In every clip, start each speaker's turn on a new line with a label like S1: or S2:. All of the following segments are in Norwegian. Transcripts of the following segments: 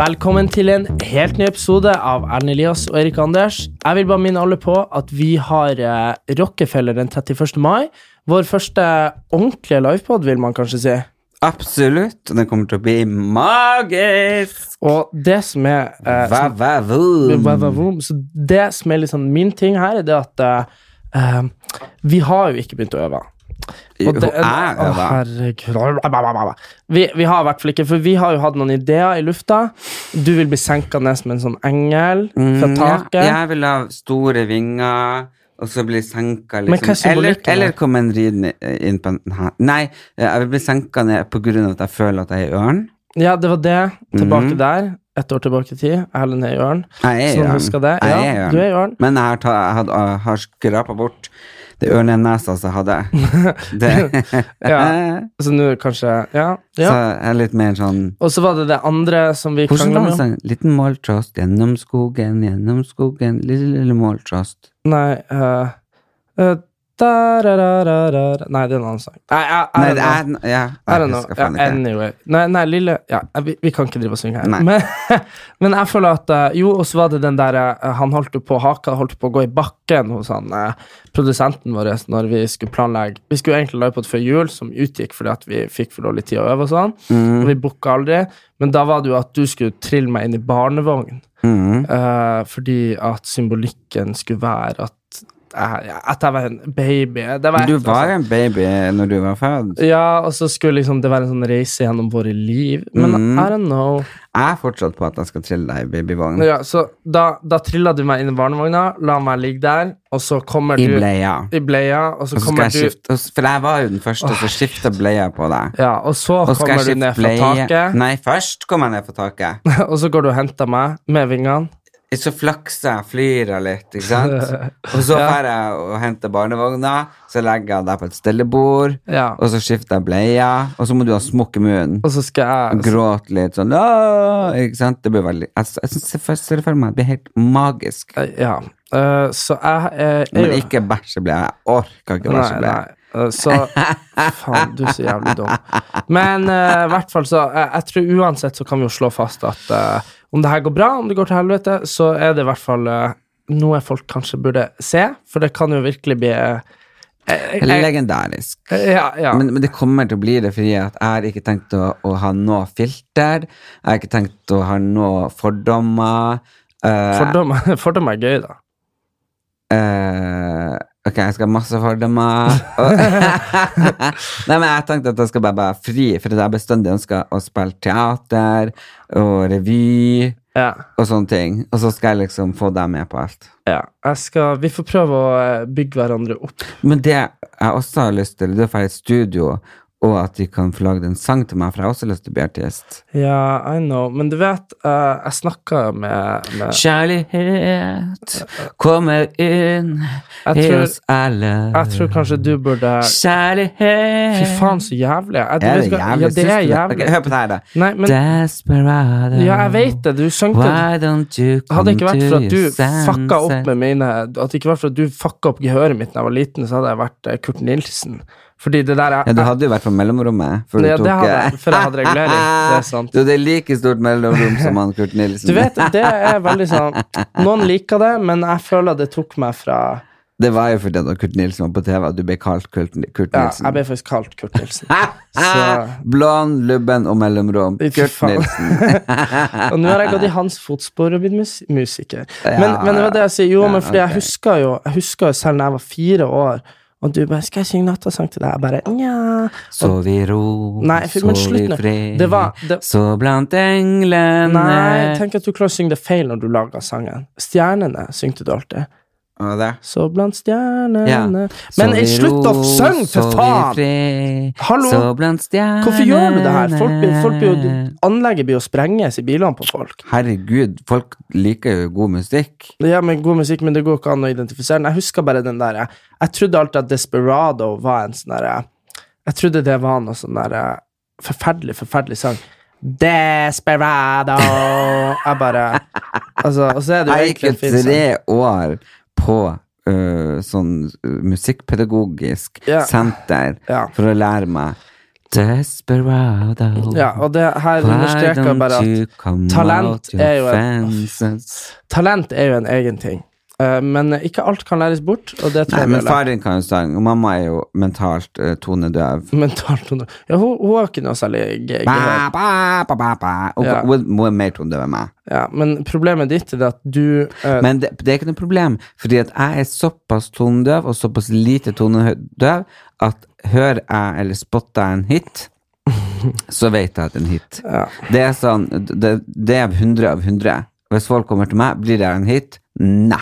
S1: Velkommen til en helt ny episode av Erlend Elias og Erik Anders. Jeg vil bare minne alle på at vi har eh, Rockefeller den 31. mai. Vår første ordentlige livepod, vil man kanskje si.
S2: Absolutt. Og den kommer til å bli magisk.
S1: Og det som er eh, som-
S2: Mm.
S1: Wow, wow, wow. Så det som er litt sånn min ting her, er det at eh, vi har jo ikke begynt å øve. Og det- Å, herregud. Vi, vi har i hvert fall ikke, for vi har jo hatt noen ideer i lufta. Du vil bli senka ned som en sånn engel fra taket.
S2: Mm, Ja, jeg vil ha store vinger, og så bli senka
S1: Men hva er
S2: liksom. Eller,
S1: symbolikken da?
S2: eller komme en ridende inn på den her. Nei, eh, jeg vil bli senka ned på grunn av at jeg føler at jeg er i ørn.
S1: Ja, det var det. Tilbake
S2: Mhm.
S1: der. Ett år tilbake i tid. Jeg heller ned i ørn.
S2: Jeg er
S1: Så
S2: i
S1: du
S2: ørn.
S1: husker det?
S2: Jeg
S1: Ja,
S2: er i ørn.
S1: du er i ørn.
S2: Men jeg har, ta, jeg had, jeg har skrapa bort det ørnenesa som jeg hadde. Det.
S1: Ja. Så Altså, nå kanskje Ja.
S2: Så
S1: ja.
S2: jeg er litt mer sånn
S1: Og så var det det andre som vi
S2: Hvordan
S1: krangla
S2: var
S1: med.
S2: det sånn? Liten måltrost gjennom skogen, gjennom skogen, lille, lille måltrost.
S1: Nei eh, eh, da-ra-ra-ra-ra. Nei, det er en annen sang. Nei, jeg, jeg,
S2: Nei,
S1: jeg,
S2: det er Ja,
S1: I don't
S2: jeg
S1: know.
S2: husker
S1: Ja,
S2: faen ikke.
S1: anyway. Nei, nei, lille ja, vi, vi kan ikke drive og synge her.
S2: Nei.
S1: Men, men jeg føler at eh, Jo, og så var det den der eh, Han holdt jo på haka, holdt på å gå i bakken hos han eh, produsenten vår når vi skulle planlegge Vi skulle egentlig live på et før jul, som utgikk fordi at vi fikk for dårlig tid å øve og sånn.
S2: Mhm.
S1: Og vi booka aldri. Men da var det jo at du skulle trille meg inn i barnevogn.
S2: Mhm.
S1: eh, fordi at symbolikken skulle være at jeg, at jeg var en baby. Det var et eller
S2: Du
S1: annet
S2: var en baby når du var født.
S1: altså. ja, og så skulle liksom det være en sånn reise gjennom våre liv. Men
S2: Mhm.
S1: I don't know.
S2: Jeg er fortsatt på at jeg skal trille deg i babyvogn.
S1: Ja, så da, da trilla du meg inn i barnevogna, la meg ligge der, og så kommer
S2: I
S1: du
S2: bleia.
S1: i bleia, og så
S2: Og så
S1: kommer
S2: skal jeg
S1: du
S2: skifte og s- For jeg var jo den første som skifta bleia på deg.
S1: ja, Og så
S2: Og skal
S1: kommer du
S2: jeg
S1: ned
S2: skifte
S1: fra
S2: bleie
S1: taket,
S2: Nei, først kom jeg ned fra taket.
S1: og så går du og henter meg med vingene.
S2: Så flakser jeg, flyr jeg litt, ikke sant. Og så drar jeg og henter barnevogna, så legger jeg deg på et stellebord,
S1: Ja.
S2: og så skifter jeg bleia, og så må du ha smokk i munnen.
S1: Og så skal jeg
S2: Gråt litt sånn «Åh!» Ikke sant? Det blir veldig Jeg, jeg, synes- jeg ser- ser det for meg. Det blir helt magisk.
S1: Ja. eh, så jeg eh, er
S2: Men
S1: jo-
S2: ikke bæsjebleie. Jeg orker ikke bæsjebleie.
S1: Nei, nei. Så Faen, du er så jævlig dum. Men eh, i hvert fall så eh, Jeg tror uansett så kan vi jo slå fast at eh, om det her går bra, om det går til helvete, så er det i hvert fall eh, noe folk kanskje burde se, for det kan jo virkelig bli eh, eh, eh,
S2: Legendarisk.
S1: ja, ja.
S2: Men, men det kommer til å bli det, fordi at jeg har ikke tenkt å, å ha noe filter. Jeg har ikke tenkt å ha noe fordommer. Eh,
S1: Fordom, fordom er gøy, da.
S2: eh, ok, jeg skal ha masse fordommer. Og- Nei, men jeg tenkte at jeg skal bare være fri, for jeg har bestandig ønska å spille teater og revy.
S1: Ja,
S2: og sånne ting. Og så skal jeg liksom få deg med på alt.
S1: ja. Jeg skal, vi får prøve å eh, bygge hverandre opp.
S2: Men det jeg også har lyst til, det er å få et studio, og at de kan få lagd en sang til meg, for jeg har også lyst til å bli artist.
S1: Ja, I know. Men du vet, eh, jeg snakka med, med
S2: Kjærlighet kommer inn
S1: Jeg tror-
S2: alle.
S1: Jeg tror kanskje du burde
S2: Kjærlighet
S1: Fy faen, så jævlig. Jeg, du
S2: Er
S1: vet
S2: det
S1: ikke- Ja,
S2: jævlig?
S1: det
S2: Syns
S1: er
S2: du
S1: jævlig.
S2: Ok, hør på det her, da.
S1: Nei, men
S2: Desperado.
S1: Ja, jeg vet det. Du sang det.
S2: Why don't you come
S1: Hadde det ikke vært for
S2: to
S1: at du
S2: your
S1: fucka opp
S2: senses?
S1: med mine At det ikke var for at du fucka opp gehøret mitt da jeg var liten, så hadde jeg vært eh, Kurt Nilsen. Fordi det der er
S2: Ja, du hadde jo vært på mellomrommet før
S1: Ja,
S2: du
S1: det
S2: tok
S1: hadde jeg, for jeg hadde regulering. Det er sant.
S2: Du, det er like stort mellomrom som han Kurt Nilsen.
S1: Du vet, det er veldig sånn Noen liker det, men jeg føler det tok meg fra
S2: Det var jo fordi at Kurt Nilsen var på TV at du ble kalt Kurt, Kurt
S1: Ja,
S2: Nilsen.
S1: jeg ble faktisk kalt Kurt Nilsen.
S2: Ah, Blond, lubben og mellomrom.
S1: Fy
S2: Kurt
S1: faen.
S2: Nilsen.
S1: Og nå har jeg gått i hans fotspor og blitt mus musiker. Men, men det var det jeg sier. Jo, men fordi jeg husker jo jeg husker jo selv da jeg var fire år Og du bare 'Skal jeg synge nattasang til deg?' Jeg bare Nja.
S2: Sov i ro,
S1: Nei, for- men
S2: sov
S1: slutt
S2: i
S1: nå.
S2: fred,
S1: Det var- det-
S2: så blant englene
S1: Nei,
S2: eh,
S1: tenk at du klarer å synge det feil når du lager sangen. Stjernene syngte du alltid.
S2: Hva var det?
S1: Så blant stjernene
S2: Ja.
S1: Men
S2: Sov i
S1: slutt å
S2: ro,
S1: synge, for
S2: sov i
S1: faen!
S2: fred,
S1: Hallo?
S2: Så blant stjernene
S1: Hvorfor gjør du det her? Folk, blir- folk blir jo, anlegget blir jo sprenges i bilene på folk.
S2: Herregud, folk liker jo god musikk.
S1: Ja, men god musikk, men det går ikke an å identifisere den. Jeg husker bare den der Jeg trodde alltid at Desperado var en sånn derre Jeg trodde det var noe sånn derre forferdelig, forferdelig sang. Desperado Jeg bare Altså, og så er det jo
S2: Jeg gikk
S1: egentlig en
S2: jo
S1: fin
S2: tre
S1: sang.
S2: år på øh, sånn øh, musikkpedagogisk
S1: Ja.
S2: senter
S1: Ja.
S2: for å lære meg Desperado.
S1: Ja, og det her understreker bare at talent er jo en- Talent er jo en egen ting, Eh, men ikke alt kan læres bort, og det tror
S2: Nei,
S1: jeg vi
S2: men
S1: har lært.
S2: faren din kan jo sang, og mamma er jo mentalt uh, tonedøv.
S1: Mentalt under- Ja, hun, hun har ikke noe særlig ge- gehør.
S2: Ba, ba, ba, ba, ba. Og
S1: Ja.
S2: hun hun er mer tonedøv enn meg.
S1: Ja, men problemet ditt er det at du eh,
S2: Men det, det er ikke noe problem, fordi at jeg er såpass tonedøv og såpass lite tonedøv at hører jeg eller spotter jeg en hit, så vet jeg at det er en hit. Det er sånn, det, det er 100 av 100. Hvis folk kommer til meg, blir det her en hit? Nei.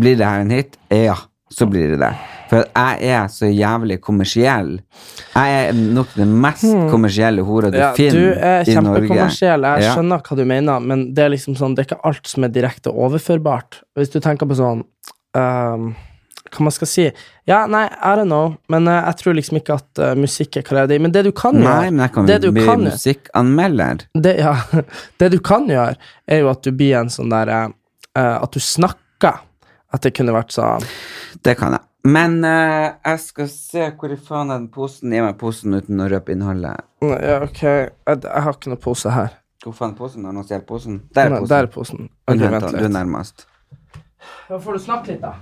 S2: Blir det her en hit? Ja. Så blir det det. For jeg er så jævlig kommersiell. Jeg er nok den mest kommersielle hora du
S1: Hmm. ja, du er
S2: finner i Norge.
S1: kjempekommersiell, jeg
S2: Ja.
S1: skjønner hva du mener, men det er liksom sånn, det er ikke alt som er direkte overførbart. Hvis du tenker på sånn ehm, Hva man skal si Ja, nei, I don't know, men eh, jeg tror liksom ikke at eh, musikk er karrieren din. Men det du kan
S2: Nei, men jeg kan
S1: det du
S2: jo bli
S1: kan gjøre-
S2: musikkanmelder.
S1: det, ja, det du kan gjøre, er jo at du blir en sånn derre At du snakker. At det kunne vært sånn
S2: Det kan jeg. Men eh, jeg skal se hvor i faen er den posen. Gi meg posen uten å røpe innholdet.
S1: «Nei, mm, Ja, ok, jeg, jeg har ikke noe pose her.
S2: Hvor faen er posen? Har noen stjålet posen? Der er
S1: Nei,
S2: posen.
S1: Der er posen.
S2: Du,
S1: Ok,
S2: vent,
S1: vent
S2: da, du er
S1: litt.
S2: nærmest.
S1: Da får du snakke litt, da.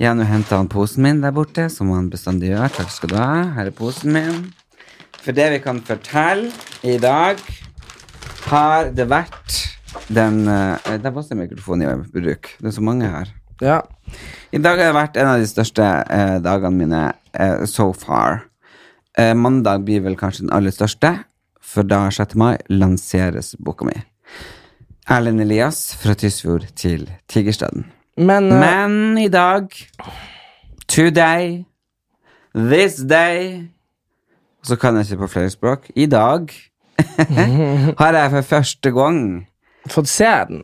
S2: Ja, nå henta han posen min der borte, som han bestandig gjør. Takk skal du ha. Her er posen min. For det vi kan fortelle i dag, har det vært den eh, Der var det mikrofon i bruk. Det er så mange her.
S1: Ja.
S2: I dag har det vært en av de største eh, dagene mine eh, so far. Eh, mandag blir vel kanskje den aller største, for da 6. mai lanseres boka mi. Erlend Elias fra Tysfjord til Tigerstaden.
S1: Men, eh,
S2: Men i dag, today, this day Så kan jeg ikke på flere språk. I dag har jeg for første gang
S1: fått se den.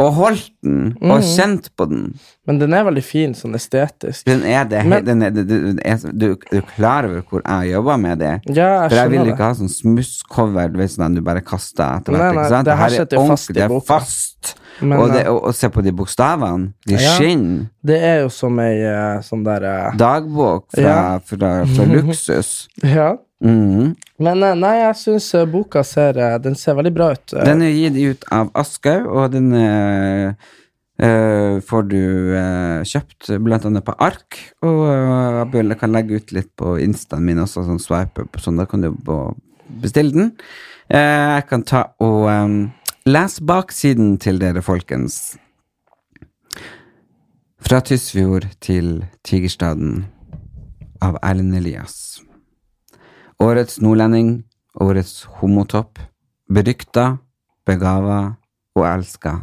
S2: og holdt den og kjent på den.
S1: Men den er veldig fin sånn estetisk.
S2: Den er det,
S1: Men-
S2: den er, du, du, er, du er klar over hvor jeg jobber med det?
S1: Ja, jeg
S2: For jeg vil
S1: skjønner
S2: ikke ha sånn smusscover du vet, sånn at du bare kaster etter hvert.
S1: Nei, nei,
S2: ikke sant?
S1: det her
S2: er
S1: sitter jo fast i
S2: ordentlig, det er
S1: boka.
S2: fast.
S1: Men,
S2: og, det,
S1: eh,
S2: og, og se på de bokstavene. De
S1: Ja.
S2: skinner.
S1: Det er jo som ei eh, sånn derre
S2: Dagbok fra,
S1: Ja.
S2: fra, fra luksus.
S1: Ja.
S2: Mhm.
S1: Men eh, nei, jeg syns boka ser eh, Den ser veldig bra ut. eh.
S2: Den er gitt ut av Aschhaug, og den eh, eh, får du eh, kjøpt blant annet på ark. Og eh, Abel, jeg kan legge ut litt på instaen min også, sånn swipe up, sånn, da kan du bo- bestille den. Eh, jeg kan ta og eh, lese baksiden til dere, folkens. Fra Tysfjord til Tigerstaden av Erlend Elias. Årets nordlending, årets homotopp. Berykta, begava og elska.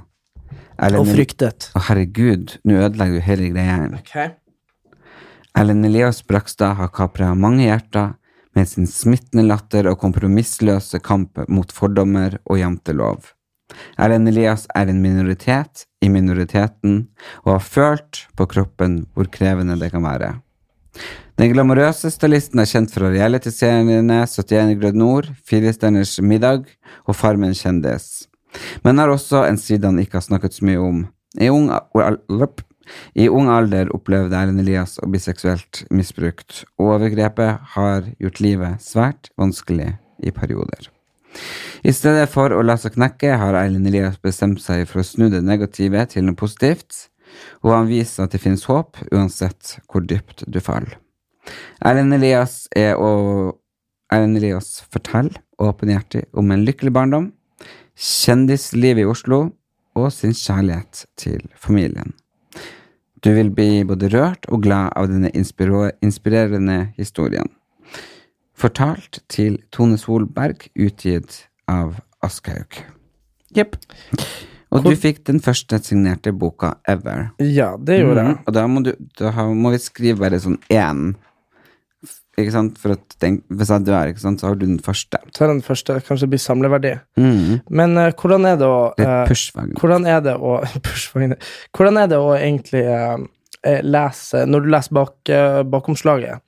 S2: Erlend-
S1: og fryktet.
S2: Å, herregud, nå ødelegger du hele greia.
S1: Ok.
S2: Erlend Elias Brakstad har kapra mange hjerter med sin smittende latter og kompromissløse kamp mot fordommer og jantelov. Erlend Elias er en minoritet i minoriteten og har følt på kroppen hvor krevende det kan være. Den glamorøse stylisten er kjent fra realityseriene 71 grad nord, Firestjerners middag og Farmen kjendis, men har også en side han ikke har snakket så mye om. I ung, i ung alder opplevde Erlend Elias å bli seksuelt misbrukt, og overgrepet har gjort livet svært vanskelig i perioder. I stedet for å la seg knekke, har Erlend Elias bestemt seg for å snu det negative til noe positivt, og han viser at det finnes håp uansett hvor dypt du faller. Erlend Elias er å Erlend Elias forteller åpenhjertig om en lykkelig barndom, kjendislivet i Oslo og sin kjærlighet til familien. Du vil bli både rørt og glad av denne inspiro- inspirerende historien. Fortalt til Tone Solberg, utgitt av Aschehoug. Jepp. Og du fikk den første signerte boka ever.
S1: Ja, det gjorde jeg.
S2: Mhm, Og da må, du, da har- må vi skrive bare sånn én. F- Ikke sant? For at den, hvis jeg dør, ikke sant, så har du den første.
S1: Så er den første. Kanskje det blir samleverdi.
S2: Mhm.
S1: Men eh, hvordan er det å
S2: Litt
S1: eh,
S2: pushvagn.
S1: Hvordan er det å Pushvagner. Hvordan er det å egentlig eh, eh, lese Når du leser bak, eh, bakomslaget,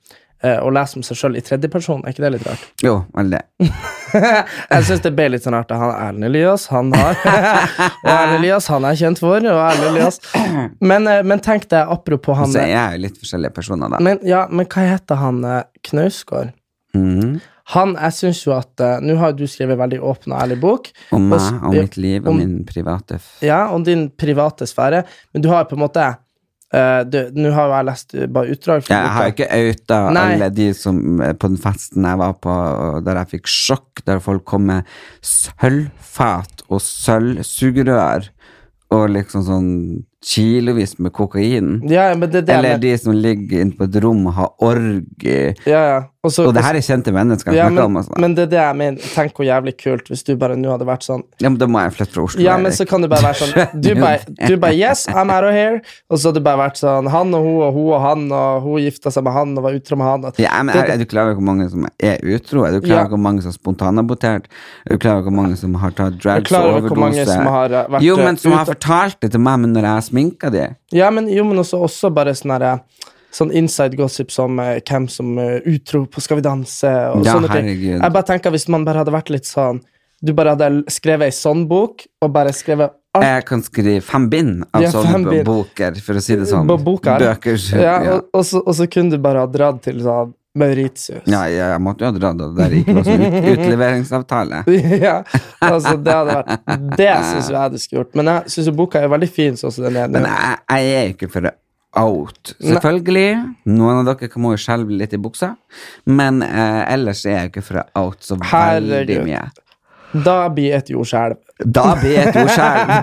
S1: eh, og leser om seg sjøl i tredjeperson, er ikke det litt rart?
S2: Jo, veldig.
S1: Jeg syns det ble litt sånn artig. Han Erlend Elias, han har Og Erlend Elias, han er kjent for, og Erlend Elias Men, eh, men tenk deg, apropos han eh,
S2: Så jeg er jo litt forskjellige personer, da.
S1: men, ja, men hva heter han eh, Knausgård?
S2: Mhm.
S1: Han, jeg syns jo at eh, Nå har jo du skrevet en veldig åpen og ærlig bok.
S2: Om
S1: Og s-
S2: meg, om
S1: ja,
S2: mitt liv, om
S1: om-
S2: min private f-
S1: Ja, om din private sfære, men du har på en måte eh, du- Nå har jo jeg lest eh, bare utdrag. fra
S2: Ja, Jeg har jo
S1: boka.
S2: ikke outa
S1: Nei.
S2: alle de som eh, på den festen jeg var på, og der jeg fikk sjokk, der folk kom med sølvfat og sølvsugerør og liksom sånn kilovis med kokain.
S1: Ja, ja, men det er det jeg
S2: Eller
S1: mener.
S2: de som ligger inne på et rom og har orgi.
S1: ja, ja. Og så-
S2: Og det her er kjente mennesker.
S1: ja,
S2: Ja,
S1: men,
S2: om, altså.
S1: men det er det jeg mener. Tenk hvor jævlig kult hvis du bare nå hadde vært sånn
S2: ja, men da må jeg flytte fra Oslo.
S1: Ja, men
S2: Erik.
S1: så kan du bare være sånn Du bare, du bare Yes, I'm out of here. Og så hadde du bare vært sånn Han og hun og hun og han, og hun gifta seg med han og var utro med han. Og,
S2: ja, men er, er du klar over hvor mange som er utro? Er du klar
S1: Ja.
S2: over hvor mange som har spontanabotert? Er du klar over hvor mange som har
S1: Jeg
S2: tatt
S1: er
S2: drugs
S1: klar
S2: og
S1: over hvor mange
S2: overdose?
S1: som har, eh, vært,
S2: jo,
S1: eh,
S2: men som har
S1: ute-
S2: fortalt det til meg men når jeg har sminka de.
S1: ja, men jo, men også, også bare sånn herre Sånn inside gossip som eh, hvem som er utro på Skal vi danse og
S2: Ja,
S1: sånne ting.
S2: herregud.
S1: Jeg bare tenker Hvis man bare hadde vært litt sånn Du bare hadde l- skrevet ei sånn bok, og bare skrevet alt
S2: Jeg kan skrive fem bind av
S1: Ja,
S2: sånne
S1: fem bind.
S2: boker, for å si det sånn.
S1: på boka her.
S2: Bøker.
S1: Ja,
S2: Ja.
S1: og, og, så, og så kunne du bare ha dratt til sånn Mauritius.
S2: Ja, ja, jeg måtte jo ha dratt av det der ikke var sånn ut, utleveringsavtale.
S1: ja, altså det hadde vært Det syns jeg du skulle gjort. Men jeg syns jo boka er veldig fin sånn som den er nå.
S2: Men jeg, jeg er jo ikke for out. Selvfølgelig. Noen av dere må jo skjelve litt i buksa, men eh, ellers er jeg jo ikke for out så veldig
S1: Herregud.
S2: mye.
S1: Da blir et jordskjelv.
S2: Da blir et jordskjelv!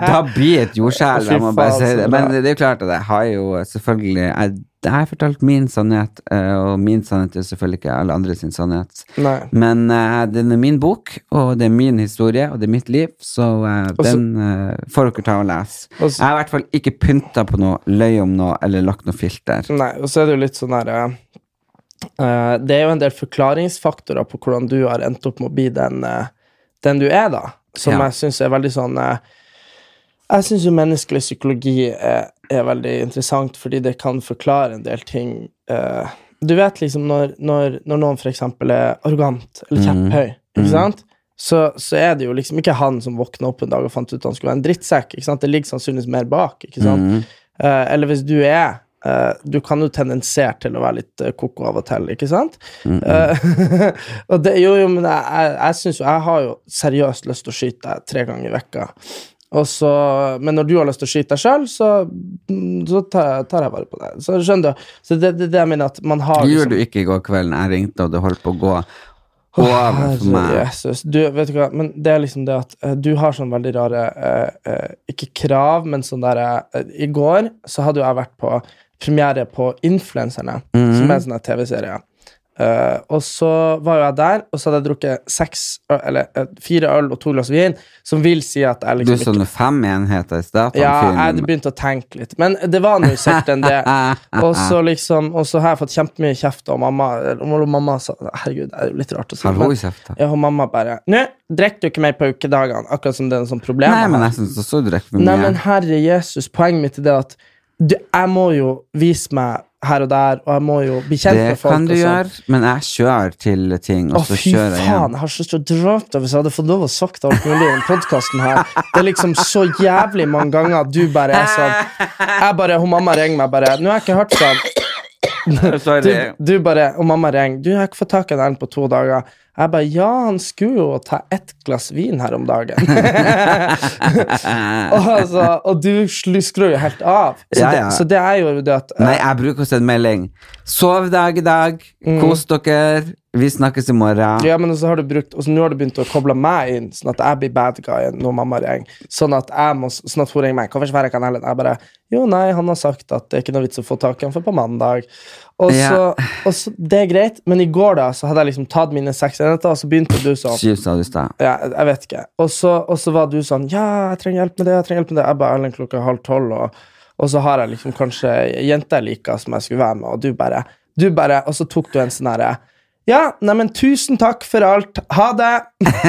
S2: Da blir et jordskjelv,
S1: Fy
S2: jeg må bare
S1: faen,
S2: si
S1: så
S2: det.
S1: bra.
S2: Men det er jo klart at jeg har jo selvfølgelig Jeg, jeg har fortalt min sannhet, eh, og min sannhet er selvfølgelig ikke alle andre sin sannhet.
S1: Nei.
S2: Men eh, den er min bok, og det er min historie, og det er mitt liv, så eh,
S1: Og så-
S2: den eh, får dere ta og lese.
S1: Og så-
S2: Jeg har i hvert fall ikke pynta på noe, løy om noe, eller lagt noe filter.
S1: Nei, og så er det jo litt sånn her eh, Det er jo en del forklaringsfaktorer på hvordan du har endt opp med å bli den, eh, den du er, da. Som
S2: Ja.
S1: jeg syns er veldig sånn eh, Jeg syns jo menneskelig psykologi er, er veldig interessant, fordi det kan forklare en del ting. eh, du vet liksom når, når, når noen f.eks. er arrogant
S2: Mm.
S1: eller kjepphøy, ikke sant? Så, så er det jo liksom ikke han som våkna opp en dag og fant ut han skulle være en drittsekk. ikke sant? Det ligger sannsynligvis mer bak. ikke sant?
S2: Mhm.
S1: Eh, eller hvis du er eh, Du kan jo tendensere til å være litt eh, koko av og til, ikke sant?
S2: Mhm.
S1: Eh, og det, jo, jo, men jeg, jeg, jeg syns jo Jeg har jo seriøst lyst til å skyte deg tre ganger i vekka. Og så, men når du har lyst til å skyte deg sjøl, så, mm, så tar, jeg, tar jeg vare på deg. Så skjønner du. Så det er det, det jeg mener at man har liksom-
S2: Det gjorde du ikke i går kveld når jeg ringte og det holdt på å gå over for
S1: Herre
S2: meg.
S1: Jesus. Du, vet du hva, men det er liksom det at eh, du har sånn veldig rare eh, eh, Ikke krav, men sånn der eh, I går så hadde jo jeg vært på premiere på Influencerne,
S2: Mhm.
S1: som er en sånn her TV-serie. Eh, og så var jo jeg der, og så hadde jeg drukket seks, ø- eller eh, fire øl og to glass vin, som vil si at jeg
S2: Du
S1: liksom
S2: så noen fem enheter i stad.
S1: ja, jeg hadde begynt å tenke litt, men det var nå sikkert enn det. Og så liksom, og så har jeg fått kjempemye kjeft av mamma. Og mamma sa Herregud, det er jo litt rart å si.
S2: Har
S1: men-
S2: hun kjeft? da?
S1: ja, og mamma bare Nå drikker du ikke mer på ukedagene, akkurat som det er en sånn problem.
S2: Nei,
S1: jeg
S2: men
S1: har.
S2: jeg syns også du drikker for
S1: Nei, men
S2: mye.
S1: herre Jesus, poenget mitt er det at du, jeg må jo vise meg her og der, og jeg må jo bli kjent
S2: Det
S1: med folk.
S2: kan du
S1: og sånn.
S2: gjøre, men jeg kjører til ting,
S1: Å,
S2: og
S1: fy
S2: så
S1: faen,
S2: kjører jeg hjem.
S1: jeg har så lyst til å drepe deg hvis jeg hadde fått lov å sagt alt mulig i den podkasten her. Det er liksom så jævlig mange ganger at du bare er sånn Jeg bare, hun Mamma ringer meg bare Nå har jeg ikke hørt fra han.
S2: Sorry.
S1: du, du bare, og mamma ringer Du jeg har ikke fått tak i Erlend på to dager Jeg bare, ja, han skulle jo ta ett glass vin her om dagen og, altså, og du slu- skrur jo helt av Så,
S2: Ja, ja.
S1: Det, så det er jo det at
S2: Nei, jeg bruker å sende melding. Sov dag i dag. Kos dere. Vi snakkes i morgen.
S1: Mm. Ja, men så har du brukt Og så nå har du begynt å koble meg inn, sånn at jeg blir bad guyen når mamma ringer. Sånn at jeg må Sånn at hun ringer meg. Hvorfor ikke være kanalen? Jeg bare Jo, nei, han har sagt at det er ikke noe vits å få tak i han for på mandag. Og så,
S2: Ja.
S1: og så Det er greit, men i går da så hadde jeg liksom tatt mine seks enheter, og så begynte du sånn
S2: Syv, sa du i stad.
S1: ja, jeg vet ikke. Og så, og så var du sånn Ja, jeg trenger hjelp med det. Jeg trenger hjelp med det Jeg bare Erlend klokka er halv tolv, og, og så har jeg liksom kanskje ei jente jeg liker, som jeg skulle være med, og du bare, du bare Og så tok du en sånn herre Ja, neimen, tusen takk for alt. Ha det!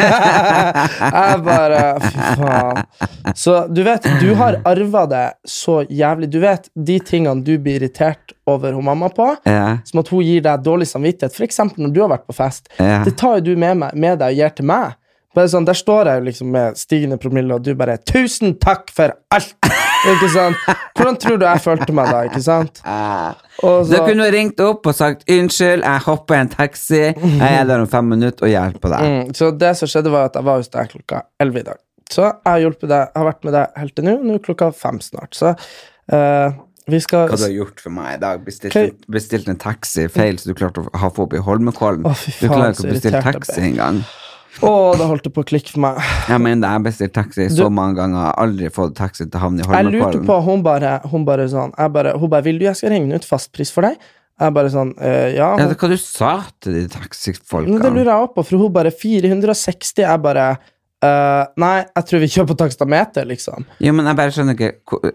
S1: jeg bare Fy faen. Så du vet, du har arva det så jævlig. Du vet de tingene du blir irritert over hun mamma på,
S2: Ja.
S1: som at hun gir deg dårlig samvittighet. For eksempel når du har vært på fest.
S2: Ja.
S1: Det tar jo du med, meg, med deg og gir til meg. Bare sånn, Der står jeg jo liksom med stigende promille, og du bare 'Tusen takk for alt!' ikke sant? Hvordan tror du jeg følte meg da? ikke sant? Og
S2: Du
S1: så,
S2: Ah. kunne jo ringt opp og sagt 'unnskyld, jeg hopper i en taxi', jeg er der om fem minutter og hjelper deg.
S1: mm, så det som skjedde, var at jeg var hos deg klokka elleve i dag. Så jeg har hjulpet deg, jeg har vært med deg helt til nå. Nå er klokka fem snart. Så eh, vi skal
S2: Hva du har gjort for meg i dag? Bestilt,
S1: Hva-
S2: bestilt en taxi feil, så du klarte å ha få opp i Holmenkollen.
S1: Å, fy
S2: du
S1: faen,
S2: klarer
S1: så
S2: ikke å bestille
S1: irritert jeg
S2: taxi
S1: ble.
S2: engang.
S1: Å, det holdt det på å klikke for meg.
S2: Jeg mener, jeg har bestilt taxi så
S1: Du-
S2: mange ganger, jeg har aldri fått taxi til havn i
S1: Jeg lurte
S2: Holmenkollen.
S1: på, hun bare, hun bare sånn jeg bare, Hun bare 'Vil du jeg skal regne ut fastpris for deg?' Jeg bare sånn eh, Ja.
S2: Ja,
S1: Hun,
S2: det er hva du sa til de
S1: Men det
S2: taxifolkene?
S1: lurer jeg også på, for hun bare 460. Jeg bare eh, Nei, jeg tror vi kjører på takstameter, liksom.
S2: Jo, men jeg bare skjønner ikke hvor-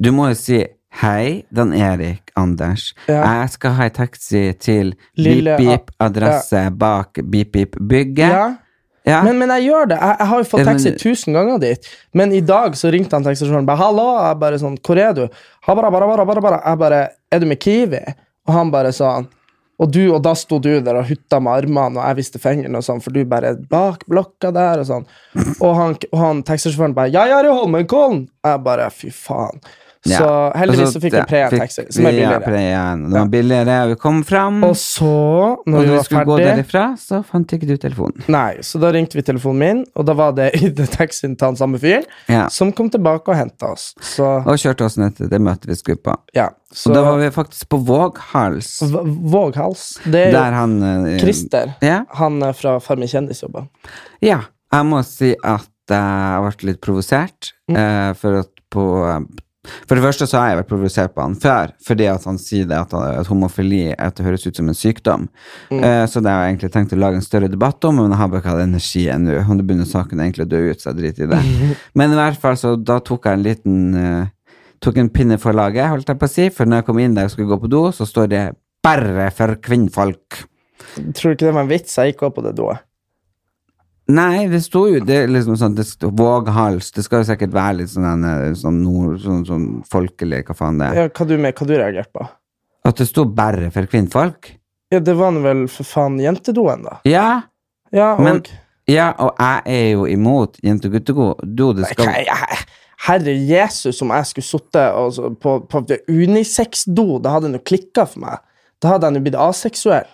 S2: Du må jo si 'Hei, Dan Erik, Anders.
S1: Ja.
S2: Jeg skal ha ei taxi til
S1: Lille-
S2: beep-beep, adresse bak beep-beep-bygget'.
S1: Ja.
S2: Ja.
S1: Men, men jeg gjør det. Jeg, jeg har jo fått
S2: Ja, men-
S1: taxi tusen ganger dit. Men i dag så ringte han taxisjåføren bare 'Hallo!' Jeg bare sånn 'Hvor er du?' Han bare, bare, bare, bare, bare. Jeg bare 'Er du med Kiwi?' Og han bare sånn og, du, og da sto du der og hutta med armene, og jeg viste fingeren, og sånn, for du bare bak blokka der, og sånn. Og han, og han taxisjåføren bare 'Jeg er i Holmenkollen!' Jeg bare 'Fy faen'. Så
S2: Ja.
S1: heldigvis
S2: Og
S1: så fikk jeg
S2: det-
S1: Prea-taxi,
S2: fikk
S1: som er
S2: vi, ja,
S1: billigere.
S2: Prea. Det var billigere, vi kom fram,
S1: Og så, når
S2: og
S1: vi
S2: når vi
S1: var
S2: skulle gå
S1: ferdig
S2: derifra, så fant ikke du telefonen.
S1: Nei, så da ringte vi telefonen min, og da var det i den taxien til han samme fyren,
S2: Ja.
S1: som kom tilbake og henta oss. Så,
S2: Og kjørte oss ned til det møtet vi skulle på.
S1: ja. Så
S2: Og da var vi faktisk på Våghals,
S1: V- Våghals. Det er jo
S2: der han eh,
S1: Christer.
S2: Ja.
S1: Han er fra Farmen kjendisjobber.
S2: Ja, jeg må si at eh, jeg ble litt provosert. eh, for at på eh, For det første så har jeg vært provosert på han før, fordi at han sier det at, han- at homofili at det høres ut som en sykdom. Eh, så det har jeg egentlig tenkt å lage en større debatt om, men jeg har bare ikke hatt energi ennå. Og da begynner saken egentlig å dø ut, så jeg driter i det. Men i hvert fall, så da tok jeg en liten eh, Tok en pinne for laget, holdt jeg på å si, for når jeg kom inn der og skulle gå på do, så står det 'Bare for kvinnfolk'.
S1: Tror du ikke det var en vits? Jeg gikk opp på det doet.
S2: Nei, det sto jo det, er liksom sånn, det sto, Våghals. Det skal jo sikkert være litt sånn, en, eh, sånn, nord, sånn, sånn folkelig, hva faen det er.
S1: Ja, hva du, med- hva du reagerte på?
S2: At det sto bare for kvinnfolk.
S1: Ja, det var nå vel for faen jentedoen, da.
S2: Ja,
S1: Ja, og
S2: Men- ja, og jeg er jo imot jente- og guttego. Do, det skal
S1: Nei, jeg- Herre Jesus, om jeg skulle sittet på, på det unisex-do, da hadde det nå klikka for meg. Da hadde jeg nå blitt aseksuell.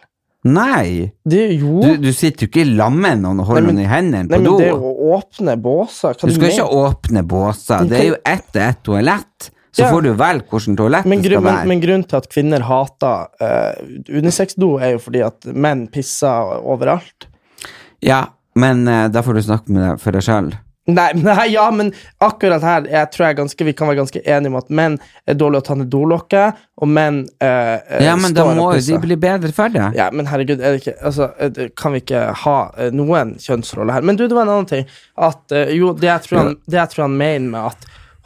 S2: Nei!
S1: Det, jo.
S2: Du, du sitter jo ikke i lag med noen og holder
S1: Nei, men-
S2: noen i hendene
S1: Nei,
S2: på
S1: men
S2: do.
S1: det å åpne båser Hva
S2: Du skal
S1: mener?
S2: ikke åpne båser. Det er jo ett og ett toalett. Så
S1: Ja.
S2: får du velge hvordan toalett
S1: men,
S2: det
S1: grunn,
S2: skal
S1: men,
S2: være.
S1: men grunnen til at kvinner hater eh, unisex-do, er jo fordi at menn pisser overalt.
S2: ja, men eh, da får du snakke med deg for deg sjøl.
S1: Nei, nei, ja, men akkurat her jeg tror jeg ganske, vi kan være ganske enige om at menn er dårlige å ta ned dolokket, og menn eh, eh,
S2: Ja, men da
S1: står
S2: må
S1: og
S2: jo de
S1: pisser.
S2: bli bedre for det.
S1: Ja, men herregud, er det ikke, altså, eh, det- kan vi ikke ha eh, noen kjønnsrolle her? Men du, det var en annen ting. At, eh, jo, det jeg, tror han, det jeg tror han mener med at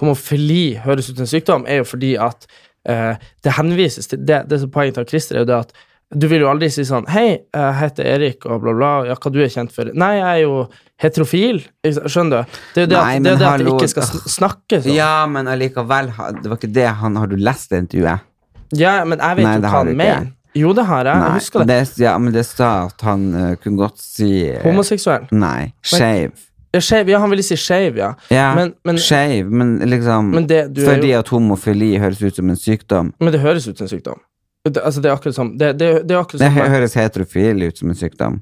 S1: homofili høres ut som en sykdom, er jo fordi at eh, det henvises til Det, det som poenget til Christer er jo det at du vil jo aldri si sånn Hei, jeg heter Erik, og bla, bla. Ja, hva du er kjent for? Nei, jeg er jo heterofil. Ikke sant? Skjønner du? Det er jo det,
S2: Nei,
S1: at, det, er jo
S2: men
S1: det at det
S2: hallo,
S1: ikke skal sn- sånn. snakkes om. Ja.
S2: Ja, men allikevel, ha- det var ikke det han Har du lest det intervjuet?
S1: men jeg vet jo hva
S2: Nei, det har du
S1: han
S2: ikke.
S1: mener. Jo, det har jeg.
S2: Nei,
S1: Jeg husker det.
S2: ja, men det sa at han eh, kunne godt si eh,
S1: Homoseksuell.
S2: Nei, skeiv.
S1: Ja, skeiv. Ja, han ville si skeiv, ja.
S2: Ja,
S1: Men, men,
S2: skeiv, men liksom
S1: Men det- du er
S2: Fordi
S1: jo-
S2: at homofili høres ut som en sykdom.
S1: Men det høres ut som en sykdom. Det, altså, det er akkurat som det, det, det er akkurat
S2: Det
S1: som
S2: hø- høres heterofil ut som en sykdom.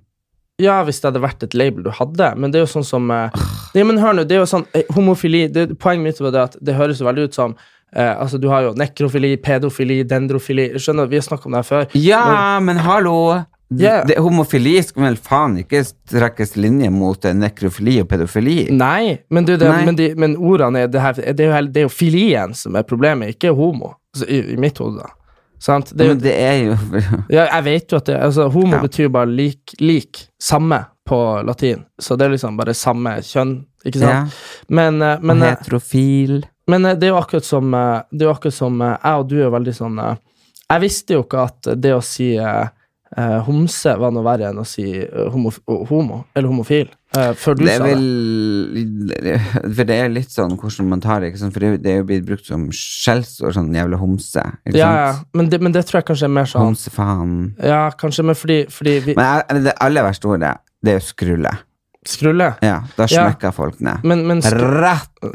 S1: Ja, hvis det hadde vært et label du hadde, men det er jo sånn som eh, Nei, men hør nå, det er jo sånn eh, homofili det, Poenget mitt var det at det høres jo veldig ut som eh, Altså, du har jo nekrofili, pedofili, dendrofili Skjønner, du, vi har snakket om det her før.
S2: Ja, men hallo!
S1: Ja.
S2: det, homofili skal vel faen ikke trekkes linje mot eh, nekrofili og pedofili.
S1: Nei, men, du, det,
S2: Nei.
S1: Men, de, men ordene er det, her, det, er jo, hel- det er jo filien som er problemet, ikke homo. Altså, i, I mitt hode, da. Sant? Det er jo,
S2: Men det er jo
S1: ja, jeg vet jo at det, altså, homo
S2: Ja.
S1: betyr jo bare lik, lik, samme på latin. Så det er liksom bare samme kjønn, ikke
S2: ja,
S1: sant? Men, eh, men, eh,
S2: Heterofil.
S1: men eh, det er jo akkurat som, eh, det er jo akkurat som eh, jeg og du er veldig sånn eh, Jeg visste jo ikke at det å si eh, eh, homse var noe verre enn å si eh, homo, homo eller homofil, eh, før du
S2: Det
S1: sa
S2: er
S1: det.
S2: vel For det er litt sånn hvordan man tar det, ikke sant? for det er jo- det er jo blitt brukt som skjellsord, sånn jævla homse. Ikke
S1: Ja, ja.
S2: sant?
S1: Men, det, men det tror jeg kanskje er mer sånn
S2: Homsefaen.
S1: Ja, kanskje, men fordi, fordi vi
S2: Men jeg- det aller verste ordet, det er jo skrulle.
S1: Skrulle?
S2: Ja, da
S1: Ja.
S2: smekker folk ned.
S1: Men, men skru,
S2: Rett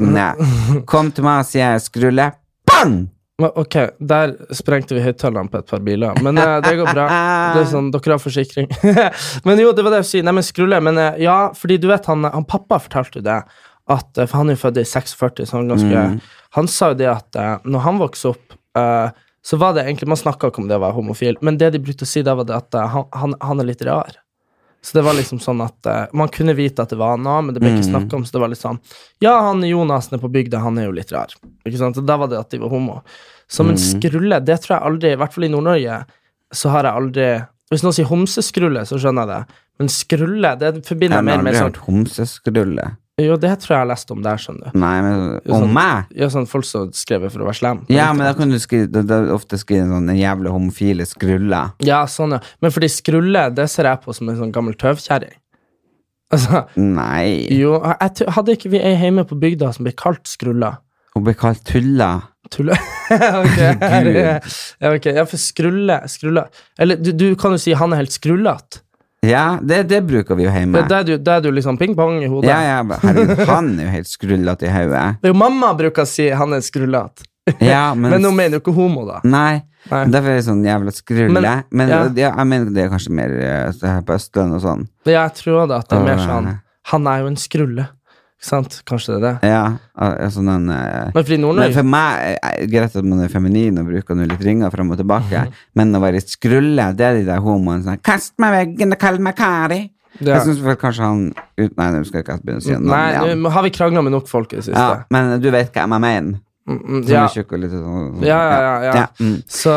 S2: ned. Kom til meg og si jeg er skrulle. Bang!
S1: men Ok, der sprengte vi høyttalerne på et par biler, men eh, det går bra. Det er sånn, Dere har forsikring. men jo, det var det jeg skulle si. Nei, men skrulle. Men eh, ja, fordi du vet, han, han pappa fortalte jo det, at, eh, for han er jo født i 46, så han er ganske Han sa jo det at eh, når han vokste opp eh, så var det egentlig, Man snakka ikke om det å være homofil, men det de brukte å si da, var det at eh, han, han, han er litt rar. Så det var liksom sånn at eh, Man kunne vite at det var han òg, men det ble ikke snakka om. Så det var litt sånn Ja, han Jonasen er på bygda, han er jo litt rar. Ikke sant? Og da var det at de var homo. Så men skrulle, det tror jeg aldri I hvert fall i Nord-Norge så har jeg aldri Hvis noen sier homseskrulle, så skjønner jeg det. Men skrulle, det
S2: Jeg
S1: forbinder
S2: har
S1: jeg mer med
S2: aldri
S1: sånn
S2: hørt homseskrulle.
S1: Jo, det tror jeg jeg har lest om der, skjønner du.
S2: Nei, men
S1: Jo,
S2: om
S1: sånn-
S2: meg?
S1: Ja, sånn folk som skrev for å være slem.
S2: Ja, men da kan du skrive, da, da ofte skrive en sånn en jævla homofile skrulle.
S1: Ja, sånn, ja. Men fordi skrulle, det ser jeg på som en sånn gammel tøvkjerring. Altså,
S2: Nei.
S1: jo, jeg, tror- hadde ikke vi ei hjemme på bygda som ble kalt skrulla?
S2: Hun ble kalt tulla.
S1: Tulle? ok, ja, ok. ja, for skrulle, skrulle. Eller du, du kan jo si han er helt skrullete.
S2: Ja, det, det bruker vi jo hjemme.
S1: Da er du, da er du liksom ping-pong i hodet.
S2: Ja, ja, men herregud, han er jo helt skrullete i hodet.
S1: Det er jo mamma bruker å si han er skrullete,
S2: Ja, men, Mm.
S1: men hun mener jo ikke homo, da.
S2: Nei.
S1: Nei.
S2: Derfor er det sånn jævla skrulle. Men,
S1: Men- ja.
S2: ja, jeg mener det er kanskje mer eh, så her på Østlandet og sånn.
S1: Men jeg tror da at det er mer
S2: Åh.
S1: sånn Han er jo en skrulle. Ikke sant? Kanskje det er det.
S2: Ja, eh, sånn en eh,
S1: Men fordi
S2: Men
S1: Nord-Norge
S2: for meg er greit at man er feminin og bruker noe litt ringer frem og tilbake,
S1: Mhm.
S2: men å være skrulle, det er de der homoene sånn Kast meg i veggen og kall meg Kari.
S1: Ja.
S2: Jeg syns vel kanskje han ut, Nei, nå skal jeg ikke begynne å si navnet
S1: Nei,
S2: igjen.
S1: nå har vi krangla med nok folk i det siste.
S2: Ja, men du vet hva jeg mener.
S1: Mm, mm,
S2: Som
S1: ja.
S2: er tjukk og litt sånn.
S1: Ja, ja, ja, ja.
S2: mm.
S1: Så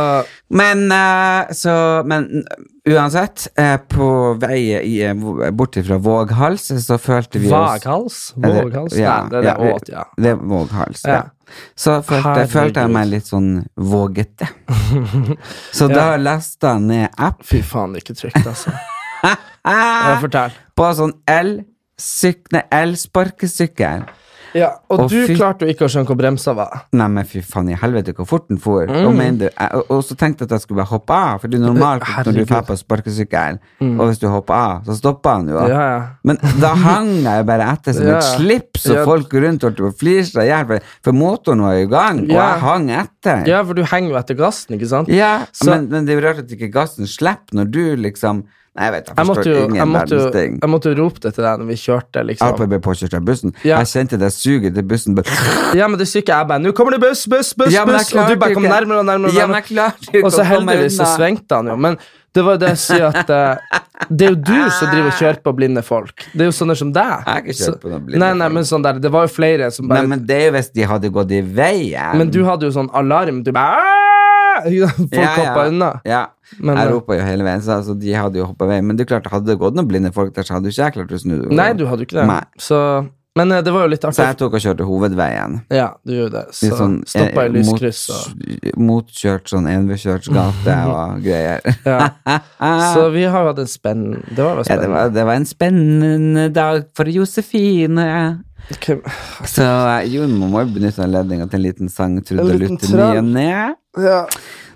S2: Men eh, så Men uansett, eh, på vei i, eh, bort fra Våghals, eh, så følte vi oss
S1: Vaghals? Våghals?
S2: Ja,
S1: Nei, det er det
S2: ja,
S1: åt, ja.
S2: Det er våghals, ja.
S1: Ja.
S2: Så følte,
S1: Herregud.
S2: følte jeg meg litt sånn vågete. Så da lasta jeg ned app
S1: Fy faen, det er ikke trygt, altså. Ja,
S2: ah,
S1: fortell.
S2: på sånn el-syk- nei, elsparkesykkel.
S1: Ja, og
S2: Å,
S1: du
S2: fy-
S1: klarte jo ikke å skjønne hvor bremsa var.
S2: Nei, men fy faen i helvete hvor fort den for. Og,
S1: Mm.
S2: mener du, jeg, og, og så tenkte jeg at jeg skulle bare hoppe av, for det er normalt når du
S1: Herregud. Mm.
S2: drar på sparkesykkel, og hvis du hopper av, så stopper han jo.
S1: Ja, ja.
S2: Men da hang jeg bare etter som
S1: Ja.
S2: et slips, og
S1: Ja.
S2: folk rundt holdt på å flire seg i hjel, for, for motoren var i gang, og
S1: Ja.
S2: jeg hang etter.
S1: ja, for du henger jo etter gassen, ikke sant?
S2: Ja,
S1: Så-
S2: men, men det er jo rart at ikke gassen slipper når du liksom Nei, jeg vet, jeg
S1: Jeg måtte
S2: forstår
S1: jo, jeg
S2: ingen
S1: måtte jo,
S2: verdens ting.
S1: jeg måtte jo rope det til deg når vi kjørte,
S2: Ap
S1: liksom.
S2: ble påkjørt av bussen.
S1: Ja.
S2: Jeg kjente det suget til bussen. Bare,
S1: Ja, men det syke er bare Nå kommer det buss, buss, buss,
S2: Ja, men jeg
S1: buss! Og du
S2: klarte
S1: bare
S2: jo
S1: kom
S2: ikke.
S1: nærmere og nærmere. og
S2: Ja, men
S1: nærmere.
S2: jeg klarte ikke
S1: Og så
S2: å komme
S1: heldigvis så
S2: unna.
S1: svingte han jo, men det var jo det jeg sier at eh, Det er jo du som driver og kjører på blinde folk. Det er jo sånne som deg.
S2: har ikke kjørt på noen blinde
S1: nei, nei,
S2: folk.
S1: men sånn der, det var jo flere som
S2: Nei,
S1: bare
S2: men det er jo hvis de hadde gått i veien.
S1: Men du hadde jo sånn alarm. Du bare "Aah!" Ikke sant? Folk hoppa unna.
S2: Ja.
S1: Men,
S2: jeg
S1: eh,
S2: ropa jo hele veien, så altså, de hadde jo hoppa vei. Men det er klart, hadde det gått noen blinde folk der, så hadde jo ikke jeg klart å snu.
S1: Nei, du hadde jo ikke det.
S2: Nei.
S1: Så, men eh, det var jo litt
S2: Så
S1: artig.
S2: jeg tok og kjørte hovedveien.
S1: Ja, du gjorde det. Så
S2: Litt sånn, eh,
S1: stoppa i
S2: mot-
S1: lyskryss. Og,
S2: Motkjørt sånn enveiskjørt gate og greier.
S1: ja. Så vi har jo hatt en spennende Det var jo
S2: Ja, det
S1: spennende.
S2: var, det var en spennende dag for Josefine.
S1: Hvem-
S2: Så eh, jo, man må jo benytte anledninga til en liten sang,
S1: En
S2: Trude og
S1: liten
S2: Lutte, ny
S1: trall.
S2: og ne.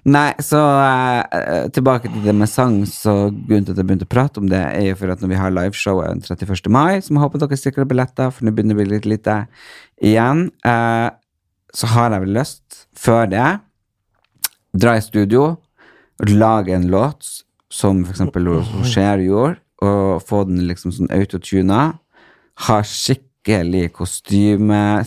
S2: Nei, så eh, eh, tilbake til det med sang, så grunnen til at jeg begynte å prate om det, er jo for at når vi har liveshowet den 31. mai, så må jeg håpe dere sikrer billetter, for nå begynner det å bli litt lite igjen, eh, så har jeg vel lyst, før det, dra i studio, lage en låt, som for eksempel Cher gjorde, og få den liksom sånn autotuna, ha skikkelig skikkelig kostyme,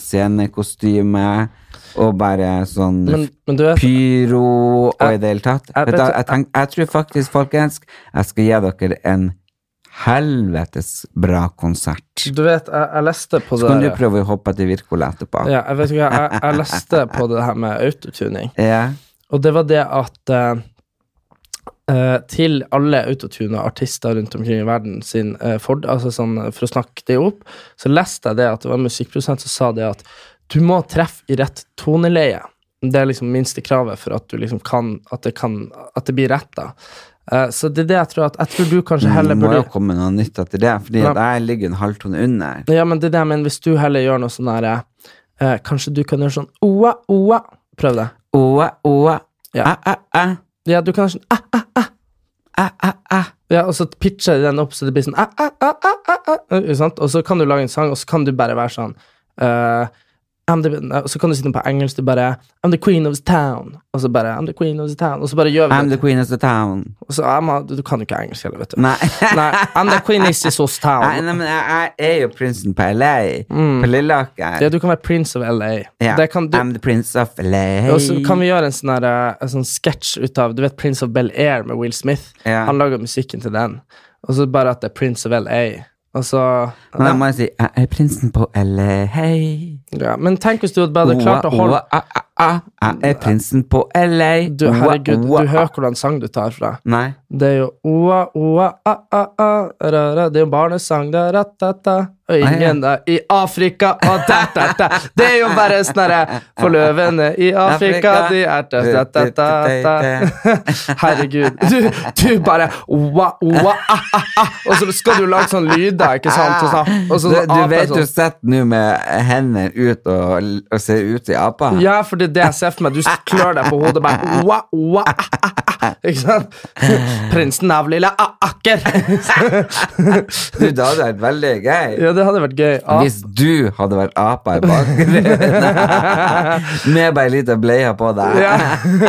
S2: scenekostyme, og bare sånn
S1: Men- men du vet-
S2: pyro og i
S1: Jeg-
S2: det hele tatt.
S1: jeg-
S2: Vet
S1: vet
S2: du,
S1: du-
S2: jeg, tenk, jeg tror faktisk, folkens, jeg skal gi dere en helvetes bra konsert.
S1: Du vet, jeg, jeg leste på
S2: Så
S1: det
S2: kan du
S1: der-
S2: prøve å hoppe etter Wirkola etterpå.
S1: ja, jeg, vet ikke, hva, jeg, jeg leste på det her med autotuning,
S2: Ja.
S1: og det var det at eh, eh, til alle autotuna artister rundt omkring i verden sin eh, ford, altså sånn, eh, for å snakke det opp, så leste jeg det at det var en musikkprodusent som sa det at du må treffe i rett toneleie. Det er liksom minste kravet for at du liksom kan At det, kan, at det blir rett, da. Eh, så det er det jeg tror at Jeg tror du kanskje
S2: Men
S1: heller
S2: Det må
S1: burde
S2: jo komme noe nytt etter det, fordi at jeg ligger en halvtone under.
S1: Ja, men det er det, men hvis du heller gjør noe sånn der eh, Kanskje du kan gjøre sånn oa, oa. Prøv det.
S2: Åa, åa,
S1: Ja.
S2: æ, æ, æ,
S1: Ja, du kan gjøre sånn æ, æ,
S2: æ, æ, æ.
S1: ah, ja, og så pitcher de den opp så det blir sånn æ, æ, æ, æ, æ, æ, ah, ikke sant? Og så kan du lage en sang, og så kan du bare være sånn eh, I'm the, eh," og så kan du si noe på engelsk, du bare I'm the queen of the town. Og så bare I'm the queen of the town. Og så bare gjør vi
S2: I'm the
S1: det.
S2: queen of the town.
S1: Og så, I'm a, du, du kan jo ikke engelsk heller, vet du.
S2: Nei.
S1: Nei, I'm the queen of this
S2: Nei, nei,
S1: town.
S2: men jeg, jeg er jo prinsen på LA. På Lilleaker.
S1: Mm. Ja, du kan være prince of LA.
S2: Ja.
S1: Det kan du,
S2: I'm the prince of LA.
S1: Og så kan vi gjøre en sånn her, eh, en sånn sketsj ut av Du vet Prince of Bel-Air med Will Smith?
S2: Ja.
S1: Han lager musikken til den. Og så bare at det er Prince of LA. Og så
S2: Men da må jeg si jeg er prinsen på LA.
S1: ja. Men tenk hvis du hadde bare klart å holde
S2: Åa, åa, æ, æ, æ. Jeg er prinsen på LA.
S1: du,
S2: Åa,
S1: Herregud,
S2: åa,
S1: du
S2: æ.
S1: hører hvordan sang du tar fra.
S2: Nei.
S1: Det er jo oa, oa, a, a, a, ra, ra. Det er jo barnesang, da, ra, ta, ta.
S2: Ah,
S1: Og ingen da, i Afrika, og ta, ta, ta. Det er jo bare sånn herre For løvene i Afrika, de er ta, ta, ta, ta, ta. Herregud. Du, du bare oa, oa, a, a, a. Og så skal du lage sånn lyder, ikke sant? Og så, og så,
S2: Ah. Du, du
S1: ape
S2: vet
S1: sånn.
S2: du sitter nå med hendene ut og, og ser ut i apa.
S1: Ja, for det er det jeg ser for meg. Du klør deg på hodet bare oa, oa, ah, ah, ah, ah. Ikke sant? Prinsen av lille a, akker.
S2: Du, det hadde vært veldig gøy.
S1: Ja, det hadde vært gøy. A-
S2: Hvis du hadde vært apa i bakgrunnen med bare ei lita bleie på deg.
S1: Ja.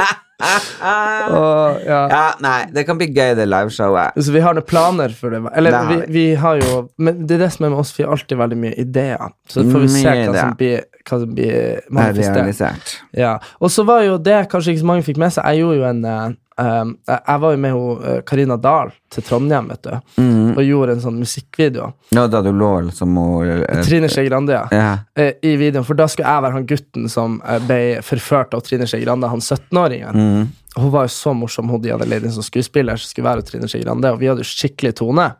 S1: Og, ja.
S2: Ja, nei, det kan bli gøy, det liveshowet.
S1: Så vi har noen planer for det. Eller,
S2: Det har
S1: vi,
S2: vi.
S1: vi har jo Men det er det som er med oss, vi har alltid veldig mye ideer. Så får vi se
S2: Mye
S1: hva som blir, hva som blir
S2: Det er
S1: manifestert.
S2: realisert.
S1: Ja. Og så var jo det kanskje ikke så mange fikk med seg. Jeg gjorde jo en eh, um, Jeg jeg var jo med ho, eh, Karina Dahl til Trondheim, vet du,
S2: Mm.
S1: og gjorde en sånn musikkvideo.
S2: Nå da du lå som hun eh,
S1: Trine Skei Grande, ja.
S2: ja.
S1: eh, i videoen, for da skulle jeg være han gutten som eh, ble forført av Trine Skei Grande, han 17-åringen. Og Hun var jo så morsom, hun Diana Lidin som skuespiller, som skulle være Trine Skei Grande, og vi hadde jo skikkelig tone.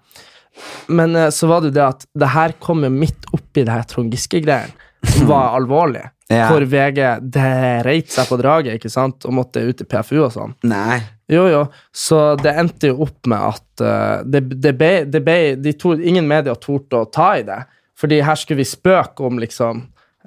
S1: Men eh, så var det jo det at det her kom jo midt oppi det her Trond Giske-greien, som var alvorlig.
S2: Ja.
S1: Hvor VG dreit seg på draget ikke sant? og måtte ut i PFU og sånn.
S2: Nei.
S1: Jo, jo. Så det endte jo opp med at eh, det, det ble, det ble, de to, ingen medier torde å ta i det. Fordi her skulle vi spøke om liksom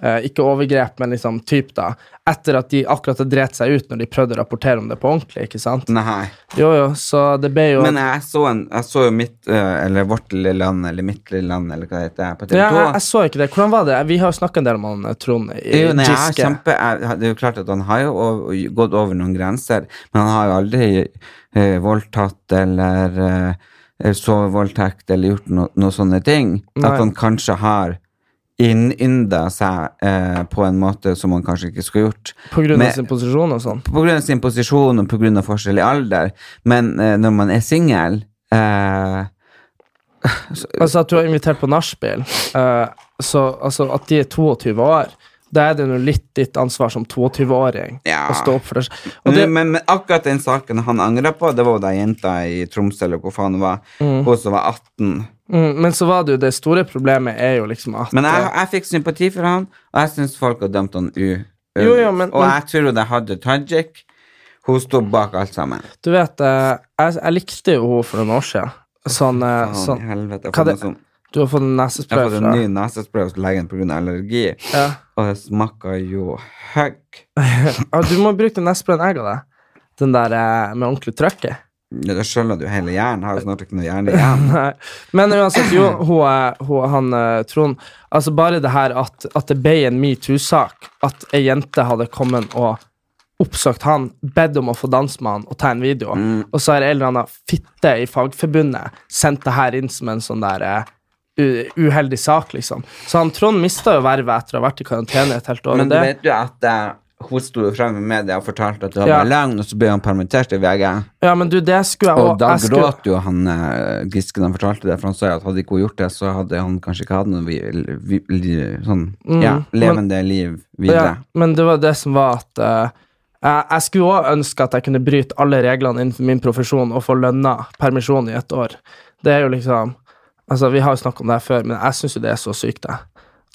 S1: eh, Ikke overgrep, men liksom typ, da. Etter at de akkurat hadde drept seg ut når de prøvde å rapportere om det på ordentlig. ikke sant?
S2: Nei.
S1: Jo, jo, så det ble jo
S2: Men jeg så, en, jeg så jo mitt eh, Eller vårt lille land, eller mitt lille land, eller hva det heter, på TV2.
S1: ja, jeg, jeg så ikke det. Hvordan var det? Vi har jo snakka en del om han eh, Trond i
S2: Jo, nei, jeg har
S1: Giske.
S2: kjempe, jeg, det er jo klart at han har jo ov- gått over noen grenser, men han har jo aldri eh, voldtatt eller eh, sovevoldtekt eller gjort no, noen sånne ting.
S1: Nei.
S2: At han kanskje har innynda seg eh, på en måte som han kanskje ikke skulle gjort.
S1: På grunn av
S2: Men-
S1: sin posisjon og sånn.
S2: på grunn av sin posisjon og på grunn av forskjell i alder, men eh, når man er singel eh,
S1: Altså at du har invitert på nachspiel, eh, så altså at de er 22 år, da er det jo litt ditt ansvar som 22-åring
S2: Ja. Mm,
S1: å stå opp for deg. selv. Og
S2: men,
S1: det,
S2: men, men akkurat den saken han angra på, det var jo da jenta i Tromsø eller hvor faen hun var, hun som var 18.
S1: mm, men så var det jo det store problemet er jo liksom at
S2: Men jeg, jeg fikk sympati for han, og jeg syns folk har dømt han u.
S1: Jo, jo, men-
S2: og
S1: men-
S2: jeg tror det hadde Tajik. Hun sto bak alt sammen.
S1: eh, Du vet, eh, jeg, jeg likte jo henne for noen år siden. Sånn, eh,
S2: Faen i
S1: sånn
S2: helvete. Jeg
S1: Hva
S2: har
S1: det-
S2: fått noe sånn-
S1: Du har fått en
S2: jeg har
S1: nesespray
S2: fått
S1: fra
S2: en ny nesespray hos legen pga. allergi,
S1: ja.
S2: og det smaker jo høgg.
S1: ah, Du må bruke den nesesprayen jeg ga deg. Den der eh, med ordentlig trøkk i.
S2: Ja, Da skjønner du hele hjernen. Har jo snart ikke noe hjerne igjen.
S1: Nei. Men uansett, jo, hun, er- hun, han eh, Trond Altså Bare det her at, at det ble en metoo-sak, at ei jente hadde kommet og oppsøkt han, bedt om å få danse med han og ta en video,
S2: Mm.
S1: og så har en eller annen fitte i Fagforbundet sendt det her inn som en sånn der eh, u- uheldig sak, liksom. Så han Trond mista jo vervet etter å ha vært i karantene et helt år.
S2: Men
S1: Men
S2: du
S1: det,
S2: vet jo at eh, hun sto jo frem i media og fortalte at det var
S1: Ja.
S2: bare løgn, og så ble han permittert i VG.
S1: ja, men du, det skulle jeg
S2: Og
S1: også-
S2: da
S1: jeg skulle-
S2: gråt jo han eh, Giske da han fortalte det, for han sa jo at hadde ikke hun gjort det, så hadde han kanskje ikke hatt noe vi, vi, li, sånn
S1: Mm,
S2: ja,
S1: men-
S2: levende liv videre.
S1: Ja, men det var det som var at eh, jeg, jeg skulle òg ønske at jeg kunne bryte alle reglene innenfor min profesjon og få lønna permisjon i et år. Det er jo liksom Altså, vi har jo snakket om det her før, men jeg syns jo det er så sykt, jeg.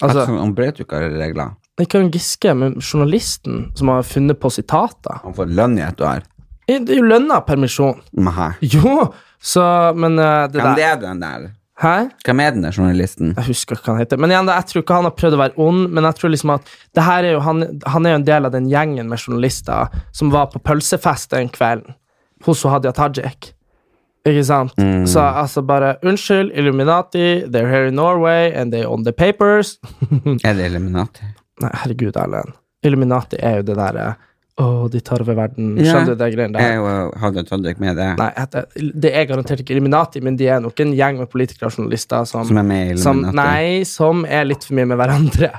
S2: At
S1: Altså,
S2: sånn, han brøt jo ikke alle regler.
S1: ikke han Giske, men journalisten som har funnet på sitater.
S2: Han får lønn i et år.
S1: Det er jo lønna permisjon.
S2: Men hæ?
S1: Jo! Så, men eh, det der
S2: Hvem det er den der?
S1: Hæ?
S2: Hvem er den der journalisten?
S1: Jeg husker ikke hva han heter. Men igjen, da, jeg tror ikke han har prøvd å være ond, men jeg tror liksom at det her er jo, han, han er jo en del av den gjengen med journalister som var på pølsefest den kvelden hos Hadia Tajik. Ikke sant?
S2: Mm.
S1: Så altså bare Unnskyld, Illuminati, they're here in Norway, and they own the papers. Mm.
S2: Er det Eliminati?
S1: Nei, herregud, Erlend. Illuminati er jo det derre Å, de tar over verden.
S2: Ja.
S1: Skjønner du det greiene der?
S2: Jeg og Hadia Tajik med det,
S1: Nei, at det, det er garantert ikke Illuminati, men de er nok en gjeng med politikere og journalister som,
S2: som er med i
S1: som,
S2: Eliminati.
S1: nei, som er litt for mye med hverandre.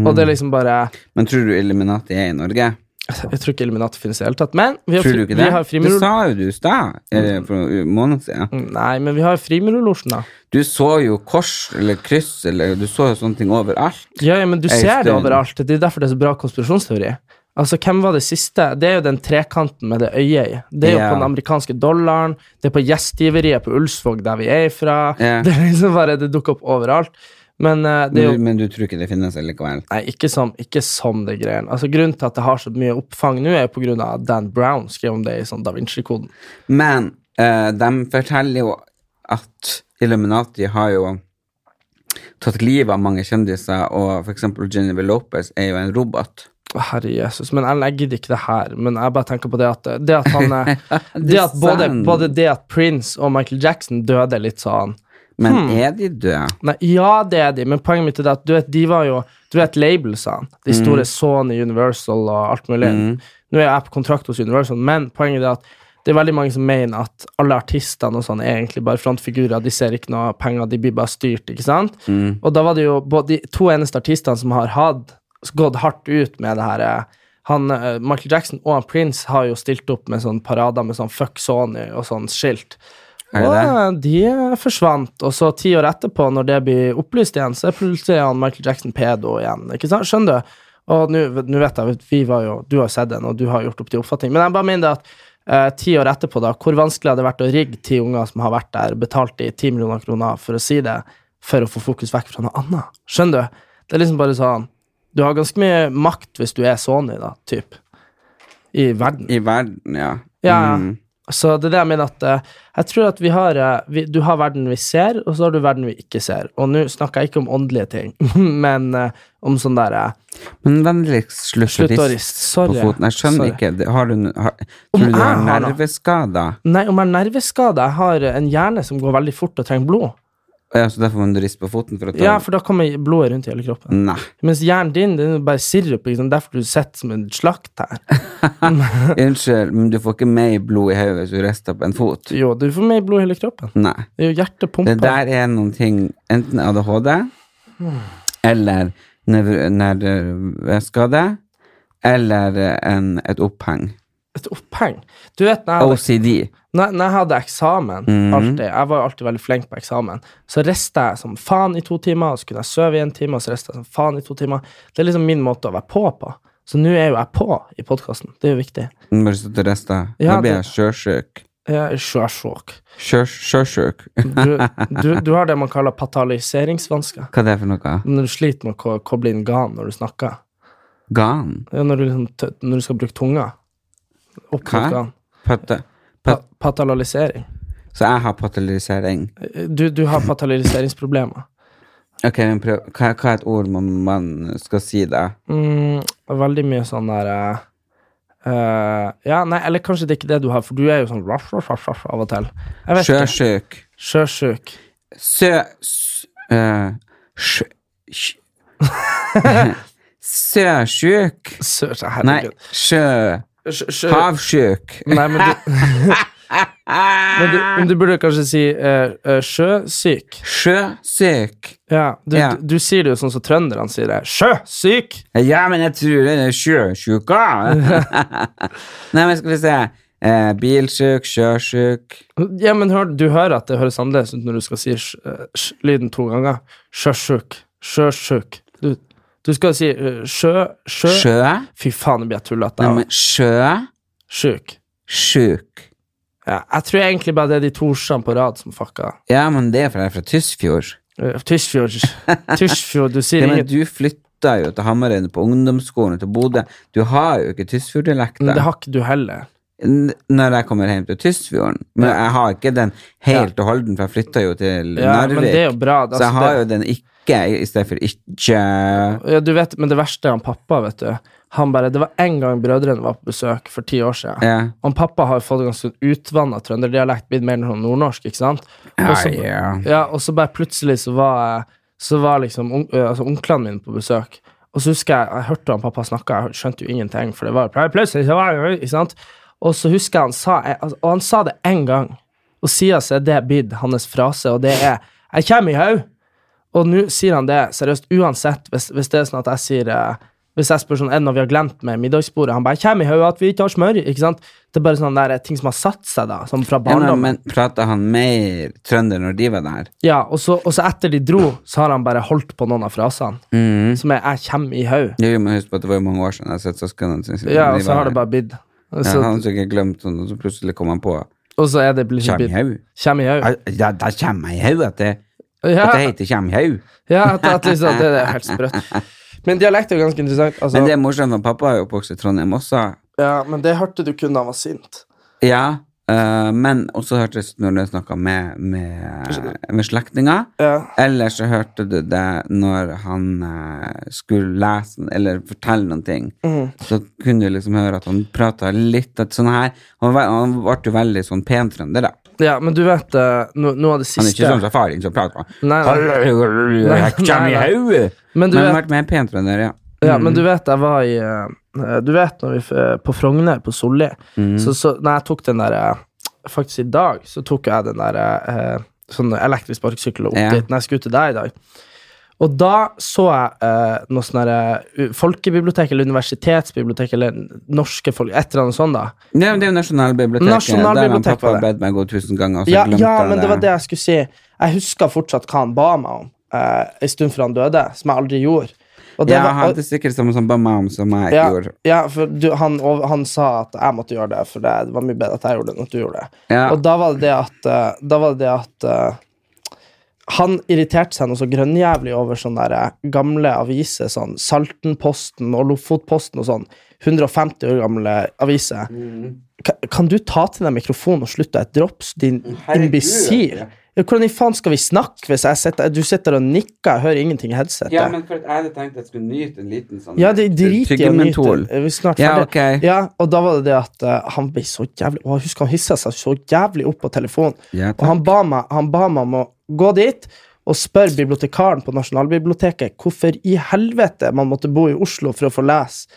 S1: Og det er liksom bare
S2: Men tror du Eliminati er i Norge?
S1: Jeg tror ikke Illuminati finnes i det hele tatt. Men vi har,
S2: Tror du
S1: fri-
S2: ikke
S1: vi
S2: det?
S1: har Mm.
S2: Det
S1: frimurul...
S2: sa jo du i stad, eh, for en måned siden.
S1: Nei, men vi har frimurulosjen, da.
S2: Du så jo kors eller kryss eller Du så jo sånne ting overalt.
S1: Ja, ja, men du ser det
S2: Øystein.
S1: overalt. Det er derfor det er så bra konspirasjonsteori. Altså, Hvem var det siste? Det er jo den trekanten med det øyet i. Det er jo
S2: Ja.
S1: på den amerikanske dollaren, det er på gjestgiveriet på Ulsvåg, der vi er ifra.
S2: Ja.
S1: Det er liksom bare, det dukker opp overalt. Men eh, det er jo
S2: Men, du- men du tror ikke det finnes likevel?
S1: Nei, ikke som, ikke som det greien. Altså, grunnen til at det har så mye oppfang nå, er på grunn av at Dan Brown skrev om det i sånn Da Vinci-koden.
S2: Men eh, de forteller jo at Illuminati har jo tatt livet av mange kjendiser, og f.eks. Jennifer Lopez er jo en robot.
S1: Å, Herre Jesus, men Ellen, jeg gidder ikke det her. Men jeg bare tenker på det at, det at han eh, det at både,
S2: sant.
S1: både det at Prince og Michael Jackson døde litt sånn
S2: Men er de døde?
S1: Nei, ja, det er de, men poenget mitt er det at du vet, de var jo Du vet labelsene, de store Sony, Universal og alt mulig. Nå er jeg på kontrakt hos Universal, men poenget er at det er veldig mange som mener at alle artistene og sånn er egentlig bare frontfigurer. De ser ikke noe penger, de blir bare styrt, ikke sant? Og da var det jo både de to eneste artistene som har hatt gått hardt ut med det her eh, han, eh, Michael Jackson og han Prince har jo stilt opp med sånn parader med sånn fuck Sony og sånn skilt.
S2: Er det det?
S1: Og de forsvant, og så ti år etterpå, når det blir opplyst igjen, så er plutselig han Michael Jackson pedo igjen. Ikke sant? Skjønner du? Og nå nå vet jeg vi var jo, Du har jo sett den, og du har gjort opp din oppfatning, men jeg bare mener det at eh, ti år etterpå, da, hvor vanskelig hadde det vært å rigge ti unger som har vært der, betalt de ti millioner kroner for å si det, for å få fokus vekk fra noe annet? Skjønner du? Det er liksom bare sånn Du har ganske mye makt hvis du er Sony, da, typ. I verden.
S2: I verden, ja.
S1: Ja,
S2: Mm.
S1: Så det er det jeg mener at eh, Jeg tror at vi har eh, vi, Du har verden vi ser, og så har du verden vi ikke ser. Og nå snakker jeg ikke om åndelige ting, men eh, om sånn der eh,
S2: Men vennligst slutt å
S1: Slutt å riste.
S2: riste på
S1: Sorry.
S2: foten. Jeg skjønner
S1: Sorry.
S2: ikke. Det- Har du, n- har,
S1: Om
S2: tror du du
S1: jeg
S2: har
S1: har noe?
S2: nerveskader?
S1: Nei, om jeg er nerveskada, jeg har eh, en hjerne som går veldig fort og trenger blod.
S2: Ja, så derfor må du riste på foten for å ta
S1: Ja, for da kommer blodet rundt i hele kroppen.
S2: Nei.
S1: Mens hjernen din, den er bare sirup. Liksom. Derfor du sitter som en slakt her.
S2: Unnskyld, men du får ikke mer blod i hodet hvis du rister på en fot.
S1: Jo, du får mer blod i hele kroppen.
S2: Nei.
S1: Det er jo hjertet
S2: Det
S1: pumper.
S2: der er noen ting Enten ADHD Eller nerv- nerveskade Eller en, et oppheng
S1: Et oppheng. Du vet, når jeg hadde
S2: OCD
S1: Når, når jeg hadde eksamen, alltid, jeg var jo alltid veldig flink på eksamen, så resta jeg som faen i to timer, og så kunne jeg sove i en time, og så resta jeg som faen i to timer. Det er liksom min måte å være på på. Så nå er jo jeg på i podkasten. Det er jo viktig.
S2: Nå Bare stå til resten
S1: Ja,
S2: Nå blir
S1: det-
S2: jeg sjøsjuk
S1: Jeg er sjøsjuk.
S2: Sjø- Sjøsjuk
S1: Du, du, du har det man kaller patalyseringsvansker.
S2: Hva er det for noe?
S1: Når du sliter med å ko- koble inn gan når du snakker.
S2: Gan
S1: Ja, Når du, liksom, t- når du skal bruke tunga. Opp
S2: Hva?
S1: mot gan.
S2: Patte.
S1: Pa, patalysering.
S2: Så jeg har patalysering
S1: Du, du har patalyseringsproblemer.
S2: Ok, men prøv Hva, hva er et ord man, man skal si da?
S1: Mm, veldig mye sånn der eh, eh, Ja, nei, eller kanskje det er ikke det du har, for du er jo sånn raff, raff, raff, raff, av og til. Jeg vet ikke.
S2: Sjøsjuk
S1: Sjøsjuk.
S2: Sø... s- eh, sjø... sj- Søsjuk
S1: Sø-
S2: Nei,
S1: Herregud.
S2: sjø...
S1: Sjø- sjø-
S2: Havsjuk.
S1: Nei, men du Men du, men du burde kanskje si eh, eh, sjøsyk.
S2: Sjøsyk.
S1: Ja, du,
S2: Ja.
S1: Du, du sier det jo sånn som trønderne sier det. Sjøsyk!
S2: Ja, men jeg tror det er sjøsjuka. Nei, men skal vi se. Eh, bilsjuk, sjøsjuk
S1: Ja, men hør, du hører at det høres annerledes ut når du skal si sj- eh, sj- lyden to ganger. Sjøsjuk. Sjøsjuk. Du, du skal si eh, sjø... Sjø.
S2: Sjø?
S1: Fy faen, det blir jeg tullete
S2: Nei,
S1: av.
S2: men sjø,
S1: Sjuk.
S2: sjuk.
S1: Ja, jeg tror egentlig bare det er de to ordene på rad som fucka.
S2: Ja, men det er fordi jeg er fra Tysfjord.
S1: Eh, Tysfjord. Tysfjord, du sier
S2: Ja, men
S1: ingenting.
S2: du flytta jo til Hamarøy på ungdomsskolen til Bodø. Du har jo ikke
S1: Det
S2: Tysfjord-dialekta
S1: har ikke du heller.
S2: N- når jeg kommer hjem til Tysfjorden. Men jeg har ikke den helt og holden, for jeg flytta jo til
S1: Ja, men
S2: Narvik.
S1: det er jo bra. da,
S2: så jeg
S1: så
S2: har
S1: det-
S2: jo den ikke i stedet for ikke.
S1: Ja, du vet, men det verste er han pappa, vet du. Han bare, Det var en gang brødrene var på besøk for ti år siden.
S2: Ja.
S1: Og pappa har fått en ganske utvanna trønderdialekt, blitt mer sånn nordnorsk, ikke sant? Og så,
S2: Ja, ja.
S1: ja, og så bare plutselig så var, så var liksom on- eh, altså, onklene mine på besøk. Og så husker jeg, jeg hørte han pappa snakke, jeg skjønte jo ingenting, for det var pl- plutselig så var det, ikke sant? Og så husker jeg han sa, eh, altså, og han sa det én gang, og siden så er det blitt hans frase, og det er 'Jeg kommer i haug'. Og nå sier han det seriøst uansett, hvis, hvis det er sånn at jeg sier eh, hvis jeg spør sånn, er det noe vi har glemt med middagsbordet? Han bare 'Kjem i hodet at vi ikke har smør'. ikke sant? Det er bare sånne der, eh, ting som har satt seg, da, som fra
S2: Ja, men,
S1: barndommen.
S2: men prata han mer trønder når de var der?
S1: Ja, og så, og så etter de dro, så har han bare holdt på noen av frasene.
S2: Mm.
S1: Som er 'jeg kjem i haug'.
S2: Jo, jo, men husk på at det var jo mange år siden jeg har sett søsknene sine.
S1: Ja, og så har det bare bidd. Og
S2: ja,
S1: så-
S2: Han hadde sikkert glemt sånn, og så plutselig kom han på
S1: Og så er det blitt
S2: Kjem i
S1: bidd.
S2: haug.
S1: Kjem i haug.
S2: Ja, da kommer jeg i haug at det, at det
S1: Ja,
S2: heter kjem i haug.
S1: ja at, at liksom, det, det er helt sprøtt. Men dialekt er jo ganske interessant. Altså,
S2: Men det er morsomt, for pappa er jo oppvokst i Trondheim også.
S1: ja, men det hørte du kun da han var sint.
S2: Ja, øh, men også hørtes det når du snakka med, med, med slektninger.
S1: Ja.
S2: Eller så hørte du det når han eh, skulle lese eller fortelle noen ting.
S1: Mhm.
S2: Så kunne du liksom høre at han prata litt at sånn her. Han, var, han ble jo veldig sånn pen trønder, da.
S1: ja, men du vet eh, no, noe av det
S2: Han er
S1: siste
S2: ikke sånn safaring som prater sånn.
S1: Nei, nei. Nei,
S2: Jeg kommer i
S1: nei, nei.
S2: hodet.
S1: Men du
S2: Men han
S1: vet-
S2: ble mer pen trønder, ja.
S1: Ja, men du vet, jeg var i eh, Du vet når vi f- på Frogner, på Solli,
S2: Mm.
S1: så, så når jeg tok den der eh, Faktisk i dag så tok jeg den der eh, sånn elektrisk sparkesykkel opp
S2: Ja.
S1: dit når jeg skulle til deg i dag. Og da så jeg eh, noe sånn der, eh, folkebibliotek eller universitetsbibliotek eller norske folk, et eller annet sånt, da.
S2: Det er det er jo Nasjonalbiblioteket.
S1: Nasjonalbiblioteket
S2: Der han pappa
S1: var det.
S2: bedt meg gå tusen ganger, og så
S1: Ja,
S2: glemte
S1: ja,
S2: altså, jeg
S1: men det var det jeg skulle si. Jeg husker fortsatt hva han ba meg om eh, en stund før han døde, som jeg aldri gjorde. Og
S2: Ja,
S1: var-
S2: han hadde sikkert samme som ba meg om som jeg ikke
S1: ja,
S2: gjorde.
S1: Ja, for du, han, og han sa at jeg måtte gjøre det, for det, det var mye bedre at jeg gjorde det enn at du gjorde det.
S2: Ja.
S1: Og da var det det at, eh, da var det det at eh, han irriterte seg noe så grønnjævlig over sånne der, eh, gamle aviser, sånn Saltenposten og Lofotposten og sånn, 150 år gamle aviser.
S2: Mm.
S1: Ka- Kan du ta til deg mikrofonen og slutte å drops, din imbisil? Ja, Hvordan i faen skal vi snakke hvis jeg sitter, du sitter og nikker, jeg hører ingenting i headsetet?
S2: Ja, men for at jeg hadde tenkt jeg skulle nyte en liten sånn
S1: Ja, det driter jeg i å nyte.
S2: Tyggementol.
S1: Er vi snart
S2: Ja,
S1: ferdig?
S2: ok.
S1: Ja, og da var det det at eh, han ble så jævlig Og jeg husker han hissa seg så jævlig opp på telefonen.
S2: Ja, takk.
S1: og han ba, meg, han ba meg om å gå dit og spørre bibliotekaren på Nasjonalbiblioteket hvorfor i helvete man måtte bo i Oslo for å få lese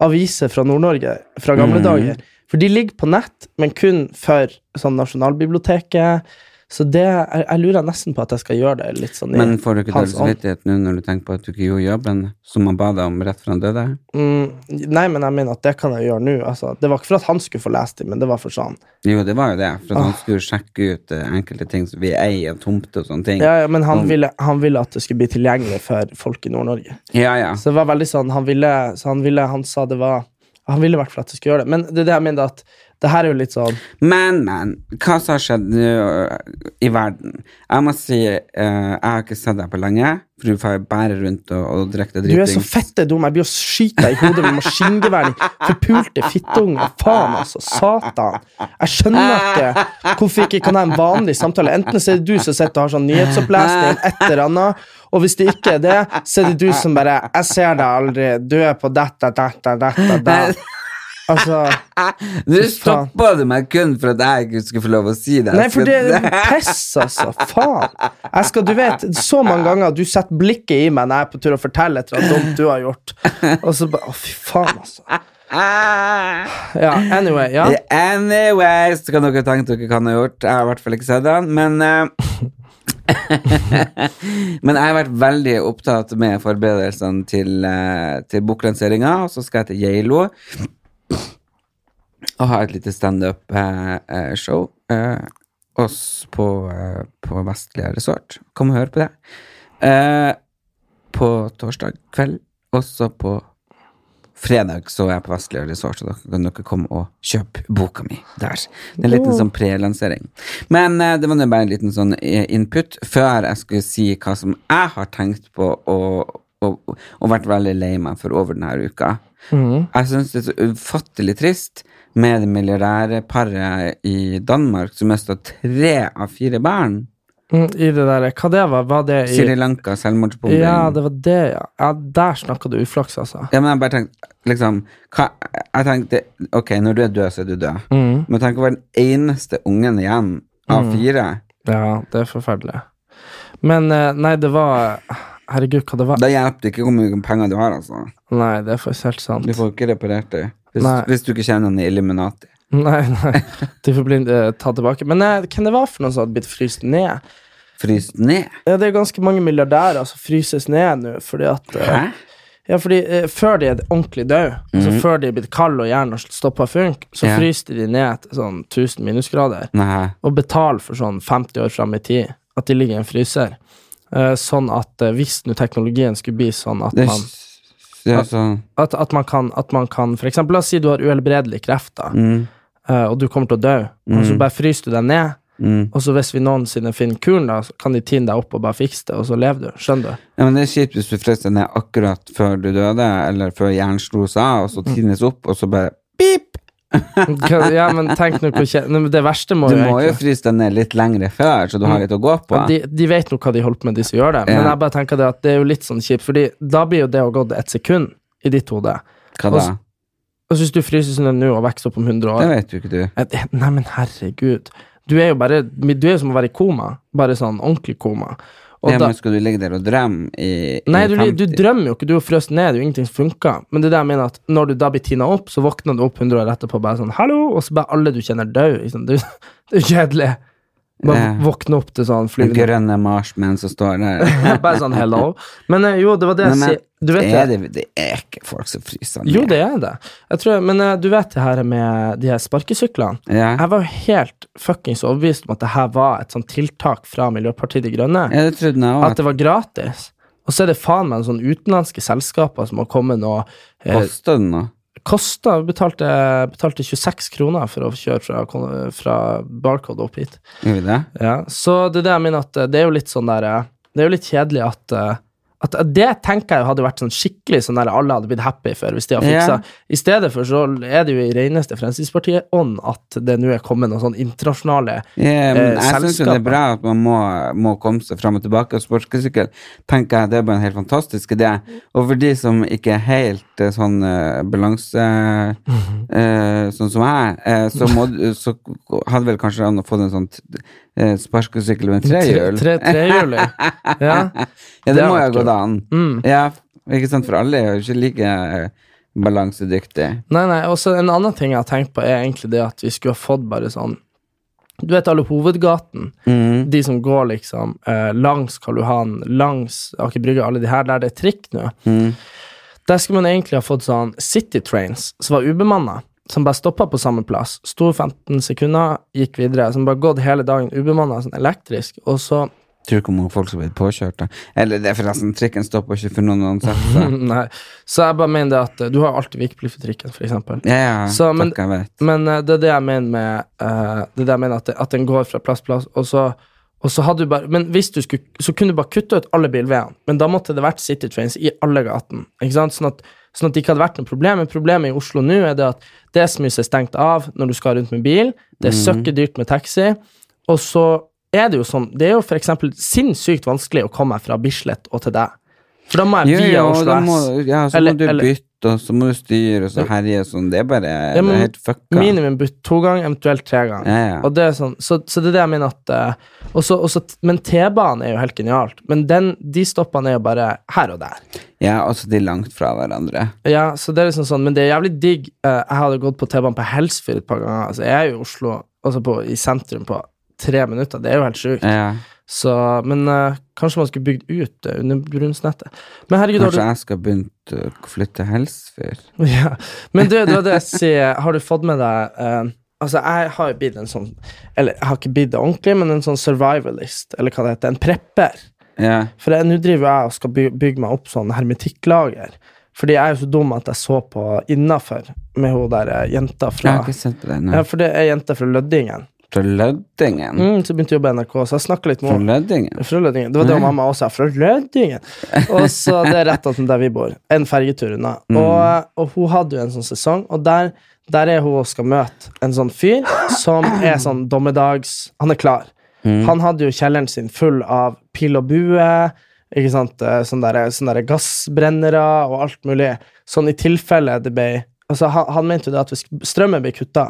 S1: aviser fra Nord-Norge fra
S2: Mm.
S1: gamle dager. For de ligger på nett, men kun for sånn Nasjonalbiblioteket. Så det, jeg, jeg lurer nesten på at jeg skal gjøre det litt sånn i
S2: Men får du ikke dårlig
S1: hans ånd.
S2: samvittighet nå når du tenker på at du ikke gjorde jobben som han ba deg om rett før han døde?
S1: Mm, nei, men jeg mener at det kan jeg gjøre nå. Altså, det var ikke for at han skulle få lest dem, men det var for sånn.
S2: Jo, det var jo det, for at
S1: Ah.
S2: han skulle sjekke ut eh, enkelte ting som vi eier, og tomter og sånne ting.
S1: Ja, ja, men han, ville, han ville at det skulle bli tilgjengelig for folk i Nord-Norge.
S2: ja. ja.
S1: Så det var veldig sånn, han ville, så han ville, han sa det var Han ville i hvert fall at det skulle gjøre det. Men det er det jeg mener at det her er jo litt sånn
S2: Men, men, hva som har skjedd nå eh, i verden? Jeg må si, eh, jeg har ikke sett deg på lenge, for du får bære rundt og, og drikke deg
S1: Du er så
S2: driting.
S1: fette dum, jeg blir å skyte deg i hodet med maskingevær, din forpulte fittunge. Faen, altså. Satan. Jeg skjønner ikke hvorfor ikke kan ha en vanlig samtale. Enten så er det du som sitter og har sånn nyhetsopplesning, et eller annet, og hvis det ikke er det, så er det du som bare 'Jeg ser deg aldri. Du er på dette, dette, dette, dette.' Altså
S2: Du
S1: Fy faen.
S2: stoppa du meg kun for at jeg ikke skulle få lov å si det.
S1: Nei, for det
S2: Skal-
S1: er piss, altså. Faen. Jeg skal, du vet, så mange ganger du setter blikket i meg når jeg er på tur og forteller et eller annet dumt du har gjort. Og så bare Å, fy faen, altså. Ja, anyway, ja.
S2: Anyways, så kan dere tenke dere hva han har gjort. Jeg har i hvert fall ikke sett han, men eh, Men jeg har vært veldig opptatt med forberedelsene til, eh, til boklanseringa, og så skal jeg til Geilo og ha et lite eh, standup-show eh, oss på, eh, på Vestlia Resort. Kom og hør på det. Eh, på torsdag kveld, også på fredag så er jeg på Vestlia Resort, så da kan dere komme og kjøpe boka mi der. Det er en liten sånn prelansering. Men eh, det var nå bare en liten sånn eh, input før jeg skulle si hva som jeg har tenkt på og, og, og vært veldig lei meg for over denne uka. Jeg syns det er så ufattelig trist med det milliardærparet i Danmark som mista tre av fire barn.
S1: Mm, I det der Hva det var? Var det i
S2: Sri Lanka, selvmordsbombing.
S1: Ja, det var det, ja. ja der snakka du uflaks, altså.
S2: Ja, men jeg bare tenkte liksom, hva, Jeg tenkte, ok, når du er død, så er du død.
S1: Mm.
S2: Men tenk å være den eneste ungen igjen av fire.
S1: Ja, det er forferdelig. Men eh, nei, det var Herregud, hva det var?
S2: Da hjelper det ikke hvor mye penger du har, altså.
S1: Nei, det er faktisk helt sant.
S2: Du får ikke reparert det. Hvis,
S1: Nei.
S2: hvis du ikke kjenner han i Illuminati.
S1: Nei, nei. De får bli eh, tatt tilbake. Men eh, hvem det var for noen som hadde blitt fryst ned?
S2: Frys ned.
S1: Ja, det er ganske mange milliardærer som fryses ned nå, fordi at eh,
S2: Hæ? Mhm.
S1: Ja, fordi eh, før de er ordentlig døde, altså før de er blitt kalde og hjernen har stoppa å funke, så
S2: Ja.
S1: fryser de ned til sånn 1000 minusgrader
S2: Nei.
S1: og betaler for sånn 50 år fram i tid at de ligger i en fryser. Eh, sånn at eh, hvis nå teknologien skulle bli sånn at
S2: Det er,
S1: man,
S2: s- det er sånn
S1: at, at man kan, at man kan for eksempel, La oss si du har uhelbredelig kreft, da,
S2: mm,
S1: eh, og du kommer til å dø, og så
S2: Mm.
S1: bare fryser du deg ned.
S2: mm.
S1: Og så hvis vi noensinne finner kuren, da, så kan de tine deg opp og bare fikse det, og så lever du. Skjønner du?
S2: Ja, men det er kjipt hvis du frøs deg ned akkurat før du døde, eller før hjernen slo seg
S1: Mm.
S2: av, og så tines opp, og så bare pip!
S1: Hva- Ja, men tenk nå hvor kje- Nei, men Det verste må
S2: Du
S1: jo
S2: må
S1: egentlig Mm.
S2: jo fryse deg ned litt lengre før, så du har litt å gå på.
S1: Ja, de, de vet nå hva de holder på med, de som gjør det. Men
S2: Ja.
S1: jeg bare tenker det at det er jo litt sånn kjipt, Fordi da blir jo det å gått ett sekund i ditt hode.
S2: Hva da?
S1: Altså, Og så hvis du fryses ned nå og vokser opp om 100
S2: Det
S1: år
S2: vet jo ikke du.
S1: Eh, det- Nei, men herregud. Du er jo bare Du er jo som å være i koma. Bare sånn ordentlig koma. Og
S2: Ja,
S1: da,
S2: men skal du ligge der og drømme i,
S1: nei,
S2: i
S1: du,
S2: 50?
S1: du drømmer jo ikke. Du er jo frøst ned. Det er jo ingenting som funker. Men det er det jeg mener at når du da blir tina opp, så våkner du opp 100 år etterpå bare sånn Hallo! Og så bare alle du kjenner, dør. Liksom. Det er jo- det er jo kjedelig. Bare
S2: Ja.
S1: våkne opp til sånn
S2: Den
S1: flyvende
S2: grønne marsmenn som står der.
S1: Bare sånn hello. Men eh, jo, det var det jeg
S2: Nei, men,
S1: sier. Du vet
S2: er
S1: det.
S2: det, det er ikke folk som fryser ned.
S1: Jo, det er det. Jeg tror, men eh, du vet det her med de her sparkesyklene.
S2: Ja.
S1: Jeg var jo helt fuckings overbevist om at det her var et sånt tiltak fra Miljøpartiet De Grønne.
S2: ja, det trodde jeg
S1: At
S2: òg.
S1: det var gratis. Og så er det faen meg sånne utenlandske selskaper som har kommet nå eh,
S2: Kosta det noe?
S1: Kosta betalte, betalte 26 kroner for å kjøre fra, kon- fra Barcode opp hit.
S2: Gjorde det?
S1: Ja, så det er det jeg mener at eh, det er jo litt sånn der eh, Det er jo litt kjedelig at eh, at at det tenker jeg hadde vært sånn skikkelig sånn der alle hadde blitt happy for hvis de har fiksa.
S2: Ja.
S1: I stedet for så er det jo i reneste Fremskrittspartiet-ånd at det nå er kommet noen sånn internasjonale
S2: Ja, men
S1: Eh,
S2: jeg syns jo det er
S1: selskapet.
S2: bra at man må, må komme seg fram og tilbake. Og sparkesykkel tenker jeg det er bare en helt fantastisk idé. Og for de som ikke er helt eh, sånn eh, balanse
S1: Mhm.
S2: eh, Sånn som jeg, eh, så, må, du- så hadde vel kanskje an å få en sånn eh, sparkesykkel med trehjul.
S1: tre- trehjuling. ja.
S2: Ja, det,
S1: Det
S2: må
S1: har
S2: jo
S1: vært
S2: gå an.
S1: Mm.
S2: Ja, ikke sant, for alle er jo ikke like eh, balansedyktige.
S1: Nei, nei, og så en annen ting jeg har tenkt på, er egentlig det at vi skulle ha fått bare sånn Du vet alle hovedgaten?
S2: Mhm.
S1: De som går liksom eh, langs Karl Johan, langs Aker Brygge, alle de her, der det er trikk nå.
S2: Mhm.
S1: Der skulle man egentlig ha fått sånn City Trains, som var ubemanna, som bare stoppa på samme plass. Sto 15 sekunder, gikk videre. Som bare gått hele dagen ubemanna, sånn elektrisk. Og så
S2: Tror ikke hvor mange folk som blir påkjørt. da. Eller det er forresten, trikken stopper ikke for noen ansatte.
S1: Nei. Så jeg bare mener det at eh, Du har jo alltid vikeplikt for trikken, for eksempel.
S2: Ja, ja,
S1: Så, men-
S2: takk, jeg vet.
S1: Men eh, det er det jeg mener med eh, Det er det jeg mener at, det, at den går fra plass til plass, og så og så hadde du bare, men hvis du skulle, så kunne du bare kutte ut alle bilveiene, men da måtte det vært City Trains i alle gatene. ikke sant? Sånn at, sånn at det ikke hadde vært noe problem. Men problemet i Oslo nå er det at det er så mye som er stengt av når du skal rundt med bil, det
S2: Mm.
S1: er søkkedyrt med taxi, og så er det jo sånn Det er jo for eksempel sinnssykt vanskelig å komme meg fra Bislett og til deg. For da må jeg
S2: Jo,
S1: via
S2: jo,
S1: Oslo
S2: da
S1: S.
S2: må, ja, så
S1: Eller-
S2: må du
S1: eller-
S2: bytte, og så må du styre, og så herje og sånn. Det er bare
S1: Ja, men
S2: det er helt fucka.
S1: Minimum butt to ganger, eventuelt tre ganger.
S2: Ja, ja.
S1: Og det er sånn, så, så det er det jeg mener at eh, og så- og så- Men T-banen er jo helt genialt. Men den, de stoppene er jo bare her og der.
S2: ja, altså de er langt fra hverandre.
S1: Ja, så det er liksom sånn, Men det er jævlig digg. Eh, jeg hadde gått på T-banen på Helsfyr et par ganger. Altså, jeg er jo i Oslo, altså på, i sentrum, på tre minutter. Det er jo helt sjukt.
S2: Ja.
S1: Så, men eh, kanskje man skulle bygd ut eh, undergrunnsnettet. Men herregud, har
S2: Kanskje
S1: du,
S2: jeg skal begynt å flytte Helsfyr?
S1: ja. men du, det var det jeg sier. Har du fått med deg eh, Altså, jeg har jo blitt en sånn Eller jeg har ikke blitt det ordentlig, men en sånn survivalist, eller hva det heter. En prepper.
S2: Ja.
S1: For jeg- nå driver jeg og skal by- bygge meg opp sånn hermetikklager. Fordi jeg er jo så dum at jeg så på Innafor med hun der eh, jenta
S2: Jeg
S1: fra
S2: har ikke sett på det
S1: Ja,
S2: ennå.
S1: for det er ei jente fra Lødingen.
S2: Fra Lødingen?
S1: Mm, så begynte jeg å jobbe i NRK, så jeg snakka litt med
S2: Fra
S1: henne.
S2: Lødingen?
S1: Fra Lødingen. Det var det mamma også sa. Fra Lødingen! Og så det er rett attmed der vi bor. En fergetur unna. Og, og hun hadde jo en sånn sesong, og der, der er hun og skal møte en sånn fyr som er sånn dommedags Han er klar. Han hadde jo kjelleren sin full av pil og bue, ikke sant? Eh, Sånne, der, sånne der gassbrennere og alt mulig. Sånn i tilfelle det ble Altså, han, han mente jo det at hvis strømmen blir kutta,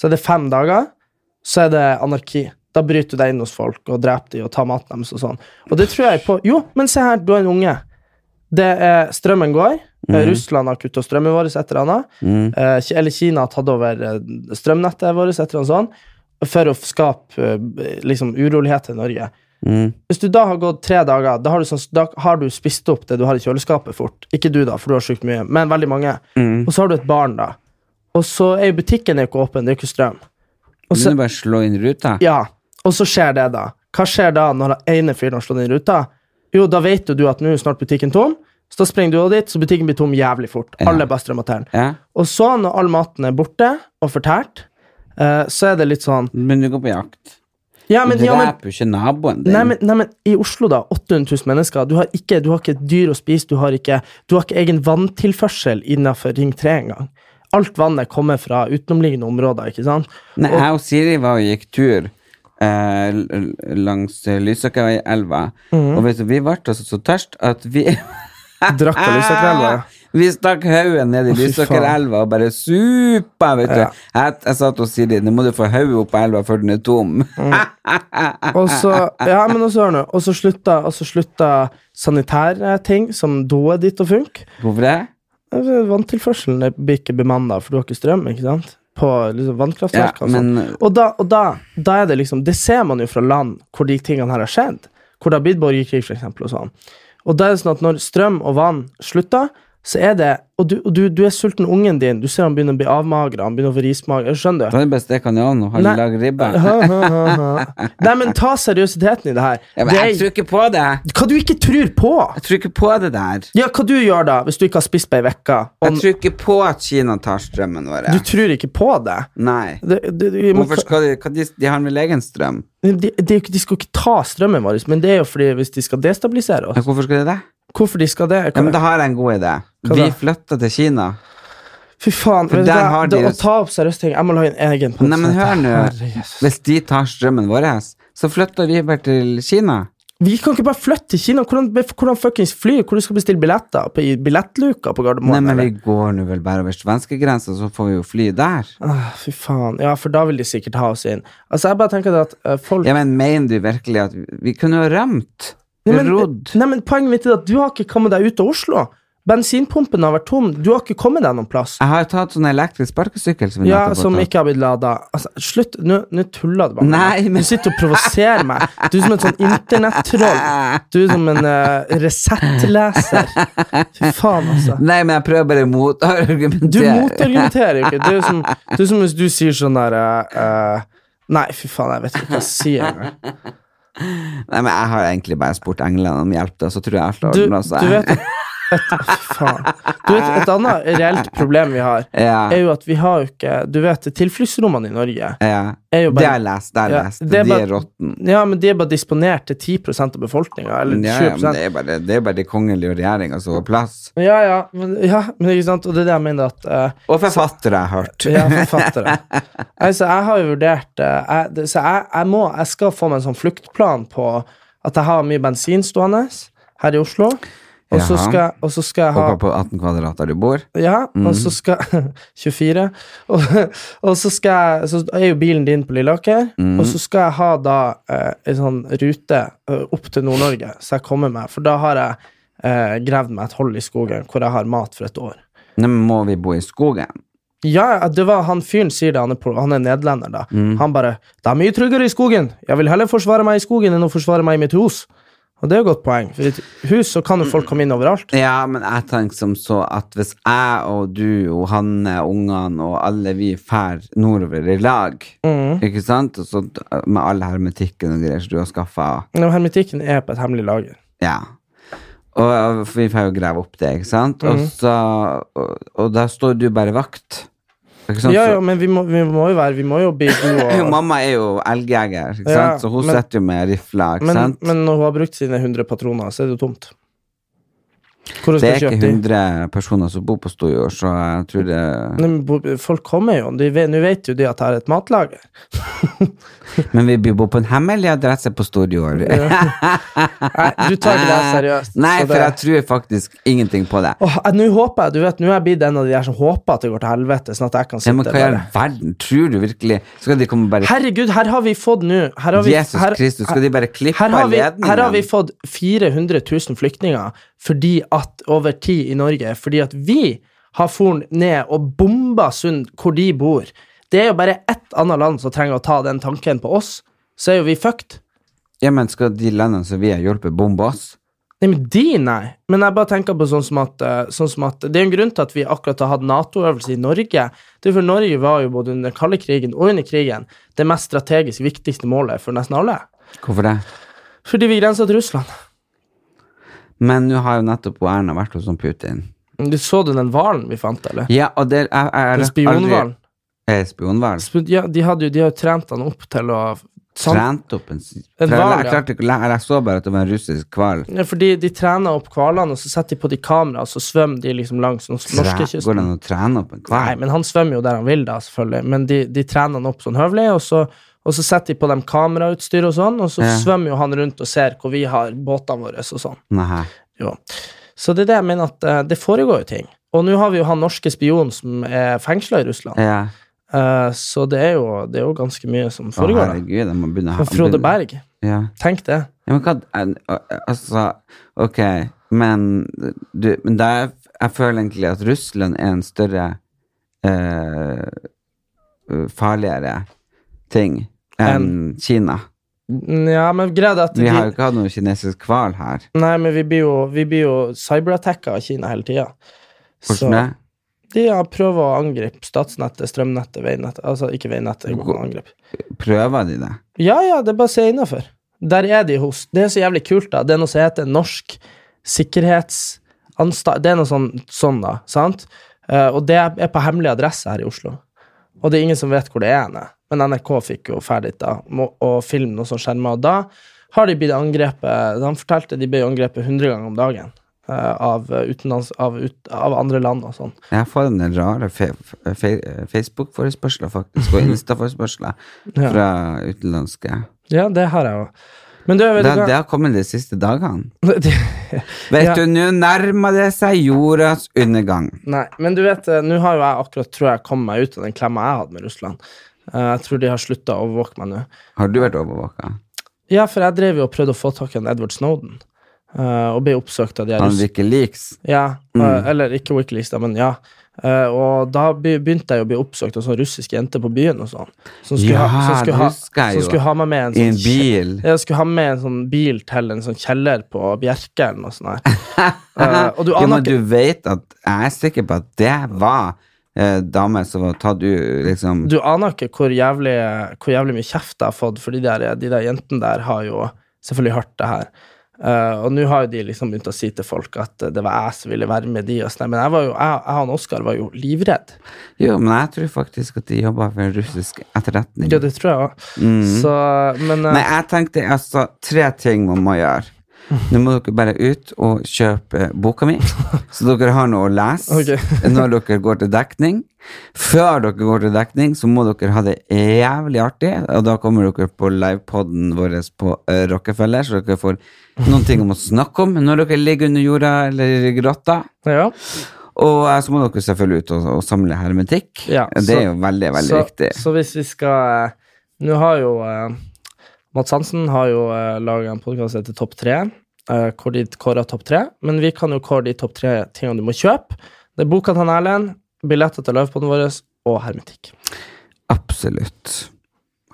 S1: så er det fem dager så er det anarki. Da bryter du deg inn hos folk og dreper de og tar maten deres og sånn. Og det tror jeg på Jo, men se her, du er en unge. Det er, strømmen går. Eh, Russland har kutta strømmen vår, et eller annet.
S2: Mm.
S1: Eh, Ki- eller Kina har tatt over eh, strømnettet vårt, et eller annet sånt. For å skape eh, liksom urolighet i Norge.
S2: Mm.
S1: Hvis du da har gått tre dager, da har, du sånn, da har du spist opp det du har i kjøleskapet fort. Ikke du, da, for du har sjukt mye, men veldig mange.
S2: Mm.
S1: Og så har du et barn, da. Og så er jo butikken er jo ikke åpen, det er jo ikke strøm. Og
S2: Kan
S1: så-
S2: du bare slå inn ruta?
S1: ja, og så skjer det, da. Hva skjer da når den ene fyren har slått inn ruta? Jo, da vet jo du at nå er snart butikken tom, så da springer du også dit, så butikken blir tom jævlig fort.
S2: Ja.
S1: Alle bare strømmer til.
S2: Ja.
S1: Og så, når all maten er borte og fortært, eh, så er det litt sånn
S2: Men du går på jakt.
S1: Ja,
S2: Du
S1: men, ja, men
S2: dreper jo ikke naboen din.
S1: Nei men, nei, men i Oslo, da. 800 000 mennesker. Du har ikke, du har ikke et dyr å spise. Du har ikke, du har ikke egen vanntilførsel innenfor Ring 3 engang. Alt vannet kommer fra utenomliggende områder. ikke sant?
S2: Nei, jeg og Siri var og gikk tur eh, l- l- langs eh, Lysakerelva.
S1: Mm.
S2: Og vet du, vi ble altså så tørst at vi
S1: Drakk av lysakrella.
S2: Ah, Vi stakk hodet ned i
S1: fy faen.
S2: Lysakerelva og bare supa, vet du. Jeg, jeg sa til Siri nå må du få hodet opp av elva før den er tom.
S1: Og
S2: Eh,
S1: så, ja, men også, hør nå, og så slutta, og så slutta sanitære ting, som doet ditt, å funke.
S2: Hvorfor det?
S1: Altså, Vanntilførselen er- blir ikke bemanna, for du har ikke strøm. ikke sant? På liksom,
S2: Ja,
S1: vannkraftverk og sånn.
S2: men
S1: Og, da, og da, da er det liksom Det ser man jo fra land hvor de tingene her har skjedd. Hvor det har blitt borgerkrig, for eksempel, og sånn. Og da er det sånn at når strøm og vann slutter, så er det Og du, og du, du er sulten ungen din, du ser han begynner å bli avmagra, han begynner å få rismage. Skjønner du?
S2: kan du bare steke den i ovnen og ha
S1: Nei.
S2: lag
S1: Ha,
S2: ribbe?
S1: ha, ha, ha. Nei, men ta seriøsiteten i det her.
S2: Ja,
S1: Det
S2: men jeg
S1: er-
S2: tror ikke på det.
S1: Hva du ikke tror på?
S2: Jeg tror ikke på det der.
S1: Ja, hva du gjør da, hvis du ikke har spist på ei uke?
S2: Jeg tror ikke på at Kina tar strømmen vår.
S1: Du tror ikke på det?
S2: Nei.
S1: Det, det, det, men,
S2: Hvorfor skal de, hva de, de har vel egen strøm?
S1: de, de, er jo ikke- de skal jo ikke ta strømmen vår, men det er jo fordi hvis de skal destabilisere
S2: Ja,
S1: oss.
S2: Hvorfor skal de det?
S1: Hvorfor de skal det?
S2: Ja, men da har jeg en god idé.
S1: Hva
S2: Vi
S1: da?
S2: flytter til Kina.
S1: Fy faen,
S2: For
S1: vet du
S2: der
S1: hva?
S2: har de
S1: det,
S2: jo-
S1: å ta opp seriøse ting Jeg må lage en egen
S2: Nei, men hør nå.
S1: Herre Jesus.
S2: Hvis de tar strømmen vår, så flytter vi bare til Kina.
S1: Vi kan ikke bare flytte til Kina. Hvordan, hvordan fuckings fly? Hvor du skal bestille billetter? På, I billettluka på Gardermoen?
S2: Nei, men
S1: eller?
S2: vi går nå vel bare over svenskegrensa, så får vi jo fly der.
S1: Ah, fy faen. Ja, for da vil de sikkert ha oss inn. Altså, jeg bare tenker det at eh, folk
S2: Ja, men mener du virkelig at vi, vi kunne jo rømt?
S1: Nei, men,
S2: Rodd?
S1: Nei, men Poenget mitt er at du har ikke kommet deg ut av Oslo. Bensinpumpen har vært tom. Du har ikke kommet deg noen plass.
S2: Jeg har tatt sånn elektrisk sparkesykkel som vi
S1: Ja,
S2: nettopp
S1: Som
S2: har tatt.
S1: ikke har blitt lada. Altså, slutt. Nå nå tuller du bare. med
S2: Nei,
S1: meg.
S2: men-
S1: Du sitter og provoserer meg. Du er som en sånn internettroll. Du er som en uh, Resett-leser. Fy faen, altså.
S2: Nei, men jeg prøver bare å motargumentere.
S1: Du motargumenterer jo ikke. Det er jo som, det er som hvis du sier sånn derre Nei, fy faen, jeg vet ikke hva jeg sier engang.
S2: Nei, men jeg har egentlig bare spurt englene om hjelp, da, så tror jeg jeg slår
S1: Du,
S2: den altså. også.
S1: du vet at et, Fy faen. Du vet, et annet reelt problem vi har,
S2: Ja,
S1: er jo at vi har jo ikke Du vet, tilfluktsrommene i Norge
S2: ja.
S1: er jo
S2: Det har jeg
S1: bare
S2: lest, det har
S1: Ja,
S2: jeg lest.
S1: det er
S2: De
S1: bare-
S2: er råtten.
S1: Ja, men de er bare disponert til 10 av befolkninga, eller
S2: Ja, ja,
S1: 20
S2: men det er bare, det er bare de kongelige og regjeringa som har plass.
S1: Ja, ja, men, ja, men ikke sant, og det er det jeg mener at eh,
S2: Og forfattere, jeg har hørt.
S1: Ja, forfattere. altså, jeg har jo vurdert eh, jeg, det- Så jeg, jeg må Jeg skal få meg en sånn fluktplan på at jeg har mye bensin stående her i Oslo. Og så
S2: Jaha.
S1: skal, og så skal jeg ha
S2: Håper på 18 kvadrat der du bor.
S1: ja, og så skal 24. Og, og så, skal jeg, så er jo bilen din på Lilleaker, og så skal jeg ha da eh, en sånn rute eh, opp til Nord-Norge, så jeg kommer meg. For da har jeg eh, gravd meg et hull i skogen hvor jeg har mat for et år.
S2: Nå må vi bo i skogen.
S1: Ja, ja, det var han fyren sier det, han er, pol- han er nederlender, da. Han bare 'Det er mye tryggere i skogen. Jeg vil heller forsvare meg i skogen enn å forsvare meg i mitt hus.' Og det er jo et godt poeng, for i et hus så kan jo folk komme inn overalt.
S2: Ja, men jeg tenker som så at hvis jeg og du og Hanne og ungene og alle vi fær nordover i lag,
S1: Mm.
S2: ikke sant, og så d- med all hermetikken og greier som du har skaffa
S1: Men hermetikken er på et hemmelig lager.
S2: Ja. Og og vi får jo grave opp det, ikke sant? Og,
S1: Mm.
S2: så, og, og da står du bare vakt. Ikke sant?
S1: Ja,
S2: Så-
S1: ja, men vi må, vi må jo være Vi må jo bli gode.
S2: Jo,
S1: og-
S2: mamma er jo elgjeger, ikke
S1: Ja,
S2: sant? så hun
S1: men-
S2: sitter jo med rifla. Ikke
S1: Men,
S2: sant?
S1: men når hun har brukt sine 100 patroner, så er det jo tomt. Hvor hun
S2: det er
S1: skal
S2: ikke
S1: kjøpe de?
S2: 100 personer som bor på Storjord, så jeg tror det
S1: Nei, men bo- Folk kommer jo. De vet- Nå vet jo de at jeg har et matlager.
S2: Men vi bor på en hemmelig adresse på Storjord.
S1: Nei, du tar ikke det seriøst.
S2: Nei,
S1: så
S2: for
S1: det-
S2: jeg tror faktisk ingenting på det.
S1: Åh, jeg- Nå håper jeg, du vet, nå er jeg blitt en av de der som håper at det går til helvete. Sånn at jeg kan
S2: Ja,
S1: sitte
S2: men hva i all
S1: bare.
S2: verden? Tror du virkelig Skal de komme bare
S1: Herregud, her har vi fått nå her har vi,
S2: Jesus
S1: her,
S2: Kristus, skal de bare klippe
S1: her har, vi,
S2: ledningen?
S1: her har vi fått 400 000 flyktninger fordi at, over tid i Norge fordi at vi har foren ned og bomba Sund hvor de bor. Det er jo bare ett annet land som trenger å ta den tanken på oss, så er jo vi fucked.
S2: Ja, men skal de landene som vi har hjulpet, bombe oss?
S1: Nei, men de, nei. Men jeg bare tenker på sånn som at, eh, sånn som at Det er jo en grunn til at vi akkurat har hatt Nato-øvelse i Norge. Det er for Norge var jo både under kalde krigen og under krigen det mest strategisk viktigste målet for nesten alle.
S2: Hvorfor det?
S1: Fordi vi grenser til Russland.
S2: Men nå har jo nettopp Erna vært hos han Putin.
S1: Du Så du den hvalen vi fant, eller?
S2: Ja, og det er, er,
S1: Den Spionhvalen.
S2: Er spionhval?
S1: Sp- Ja, de hadde jo de har jo trent han opp til å sant?
S2: Trent opp en s-
S1: Sånn- En
S2: for jeg-
S1: hval,
S2: Jeg,
S1: ja.
S2: klarte ikke å lære- jeg så bare at det var en russisk hval.
S1: Ja, fordi de trener opp hvalene, og så setter de på de kamera, og så svømmer de liksom langs norsk-
S2: Tre- Går det
S1: norskekysten.
S2: an å trene opp en
S1: Nei,
S2: hval?
S1: men han svømmer jo der han vil, da, selvfølgelig. Men de, de trener han opp sånn høvelig, og så, og så setter de på dem kamerautstyr og sånn, og så
S2: Ja.
S1: svømmer jo han rundt og ser hvor vi har båtene våre og sånn.
S2: Nei.
S1: Jo. Så det er det jeg mener at eh, det foregår jo ting. Og nå har vi jo han norske spion som er fengsla i Russland,
S2: Ja.
S1: Eh, så det er, jo, det er jo ganske mye som
S2: Å,
S1: foregår. da.
S2: herregud, jeg må begynne å ha
S1: Men Frode Berg,
S2: Ja.
S1: tenk det.
S2: Ja, men hva al- al- Altså, ok, men du Men da er, jeg føler egentlig at Russland er en større eh, farligere ting enn Kina.
S1: Mm, Ja, men greia er at
S2: Vi
S1: vi,
S2: har jo ikke hatt noen kinesisk hval her.
S1: Nei, men vi blir jo, vi blir jo cyberattacka av Kina hele tida.
S2: Hvordan det?
S1: De har prøvd å angripe statsnettet, strømnettet, veinettet Altså ikke veinettet, det går ikke an å angripe.
S2: Prøver de det?
S1: Ja, ja, det er bare å se innafor. Der er de hos. Det er så jævlig kult, da. Det er noe som heter Norsk sikkerhetsanstalt Det er noe sånn, sånn da, sant? Eh, og det er på hemmelig adresse her i Oslo. Og det er ingen som vet hvor det er henne. Men NRK fikk jo ferdig da, må- å filme noe sånn skjerma, og da har de blitt angrepet Han fortalte de ble angrepet 100 ganger om dagen eh, av, utenlands, av, ut, av andre land og sånn.
S2: Jeg får en del rare fe fe Facebook-forespørsler, faktisk, og Insta-forespørsler
S1: Ja.
S2: fra utenlandske.
S1: Ja, det har jeg jo. Men du, vet
S2: Det,
S1: du hva?
S2: det har kommet de siste dagene.
S1: Ja.
S2: Vet du, nå nærmer det seg jordas undergang.
S1: Nei, men du vet, eh, nå har jo jeg akkurat tror jeg kom meg ut av den klemma jeg hadde med Russland. Eh, Jeg tror de har slutta å overvåke meg nå.
S2: Har du vært overvåka?
S1: Ja, for jeg drev jo og prøvde å få tak i han Edward Snowden, eh, og ble oppsøkt av de her
S2: Han Mm.
S1: russ-
S2: Wikileaks.
S1: Ja, eh, eller ikke Wikileaks, da, men ja. Eh, Og da be- begynte jeg jo å bli oppsøkt av sånne russiske jenter på byen og sånn. Som skulle, ha,
S2: Ja,
S1: som skulle,
S2: det
S1: ha,
S2: husker jeg
S1: som
S2: jo.
S1: skulle ha meg med en
S2: I en
S1: sånn
S2: bil.
S1: Jeg skulle ha med en sånn bil til en sånn kjeller på Bjerke eller noe sånt. her. Eh, og du
S2: Jo,
S1: aner
S2: men
S1: ikke
S2: du vet at Jeg er sikker på at det var eh, damer som var tatt ut, liksom.
S1: Du aner ikke hvor jævlig, hvor jævlig mye kjeft jeg har fått, for de der, de der jentene der har jo selvfølgelig hørt det her. Eh, og nå har jo de liksom begynt å si til folk at eh, det var jeg som ville være med de. Og sånn. Men jeg, var jo, jeg, jeg og Oskar var jo livredd.
S2: Jo, men jeg tror faktisk at de jobba for en russisk etterretning.
S1: Ja, det tror jeg òg. Så, men eh,
S2: Nei, jeg tenkte altså tre ting man må gjøre. Nå må dere bare ut og kjøpe eh, boka mi, så dere har noe å lese
S1: Ok.
S2: når dere går til dekning. Før dere går til dekning, så må dere ha det jævlig artig, og da kommer dere på livepoden vår på eh, Rockefeller, så dere får noen ting om å snakke om når dere ligger under jorda eller i grotta.
S1: Ja.
S2: Og eh, så må dere selvfølgelig ut og, og samle hermetikk.
S1: Ja,
S2: det
S1: så-
S2: er jo veldig, veldig
S1: så,
S2: viktig.
S1: Så hvis vi skal eh, Nå har jo eh, Mads Hansen har jo eh, laga en podkast som heter Topp tre, eh, hvor de kårer topp tre. Men vi kan jo kåre de topp tre tingene du må kjøpe. Det er boka til han Erlend, billetter til livepodden vår og hermetikk.
S2: Absolutt.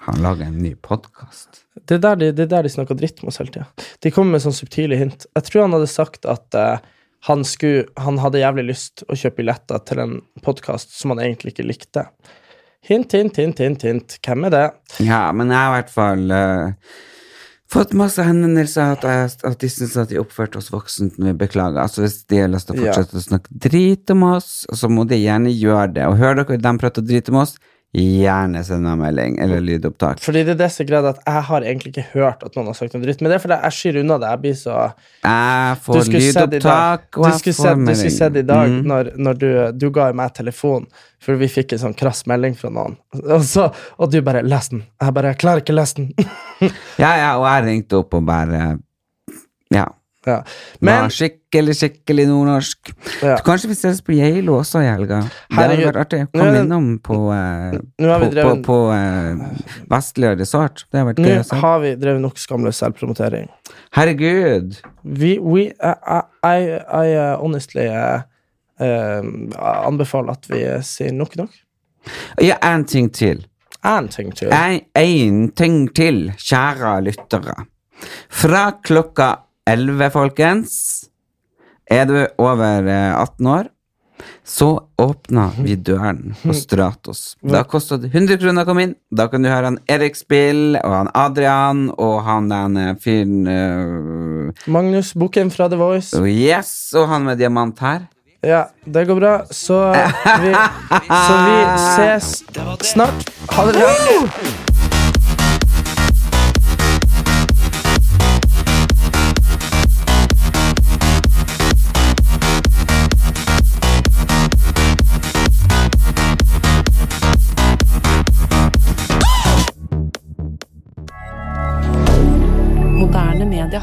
S2: Han lager en ny podkast.
S1: Det er der de, det er der de snakker dritt med oss hele tida. De kommer med sånne subtile hint. Jeg tror han hadde sagt at eh, han, skulle, han hadde jævlig lyst å kjøpe billetter til en podkast som han egentlig ikke likte. Hint, hint, hint, hint, hint. Hvem er det?
S2: Ja, men jeg har i hvert fall eh, fått masse henvendelser at, jeg, at de syns at de oppførte oss voksent når vi beklager. Altså Hvis de har lyst til å
S1: Ja.
S2: fortsette å snakke drit om oss, så må de gjerne gjøre det. Og hører dere dem prate drit om oss, gjerne send meg en melding eller lydopptak.
S1: Fordi det er det som er greia, at jeg har egentlig ikke hørt at noen har sagt noe dritt. Men det er fordi jeg skyr unna det. Jeg blir så
S2: Jeg
S1: Du
S2: får
S1: skulle sett i dag-
S2: lydopptak, og
S1: du
S2: jeg
S1: skulle
S2: får
S1: sett, du skulle
S2: melding.
S1: sett i dag
S2: Mm.
S1: når, når du, du ga jo meg telefon, for vi fikk en sånn krass melding fra noen, og, så, og du bare 'les den'. Jeg bare 'jeg klarer ikke å lese den'.
S2: Ja, ja, og jeg ringte opp og bare Ja.
S1: Ja.
S2: Men,
S1: Men
S2: skikkelig, skikkelig nordnorsk.
S1: Ja.
S2: Kanskje vi ses på Geilo også i helga. Det hadde
S1: Herregud.
S2: vært artig.
S1: Nå er
S2: Kom
S1: det-
S2: innom på, eh,
S1: Nå har vi
S2: på, på,
S1: drevet-
S2: på eh, Vestlige Resort. Det hadde vært
S1: nå
S2: gøy å se.
S1: har vi drevet nok skamløs selvpromotering.
S2: Herregud!
S1: Vi, we, I, I, I uh, honestly uh, um, anbefaler at vi sier nok nok.
S2: Ja, en ting til.
S1: En ting til.
S2: En, en ting til, kjære lyttere. Fra klokka 11, folkens, er du over eh, 18 år, så åpner vi døren på Stratos. Da koster det 100 kroner å komme inn. Da kan du høre han Erik Spill, og han Adrian, og han den eh, fyren eh,
S1: Magnus, boken fra The Voice.
S2: oh, Yes, og han med diamant her.
S1: Ja, det går bra. Så vi, så vi ses snart. Ha det bra.
S3: Moderne media.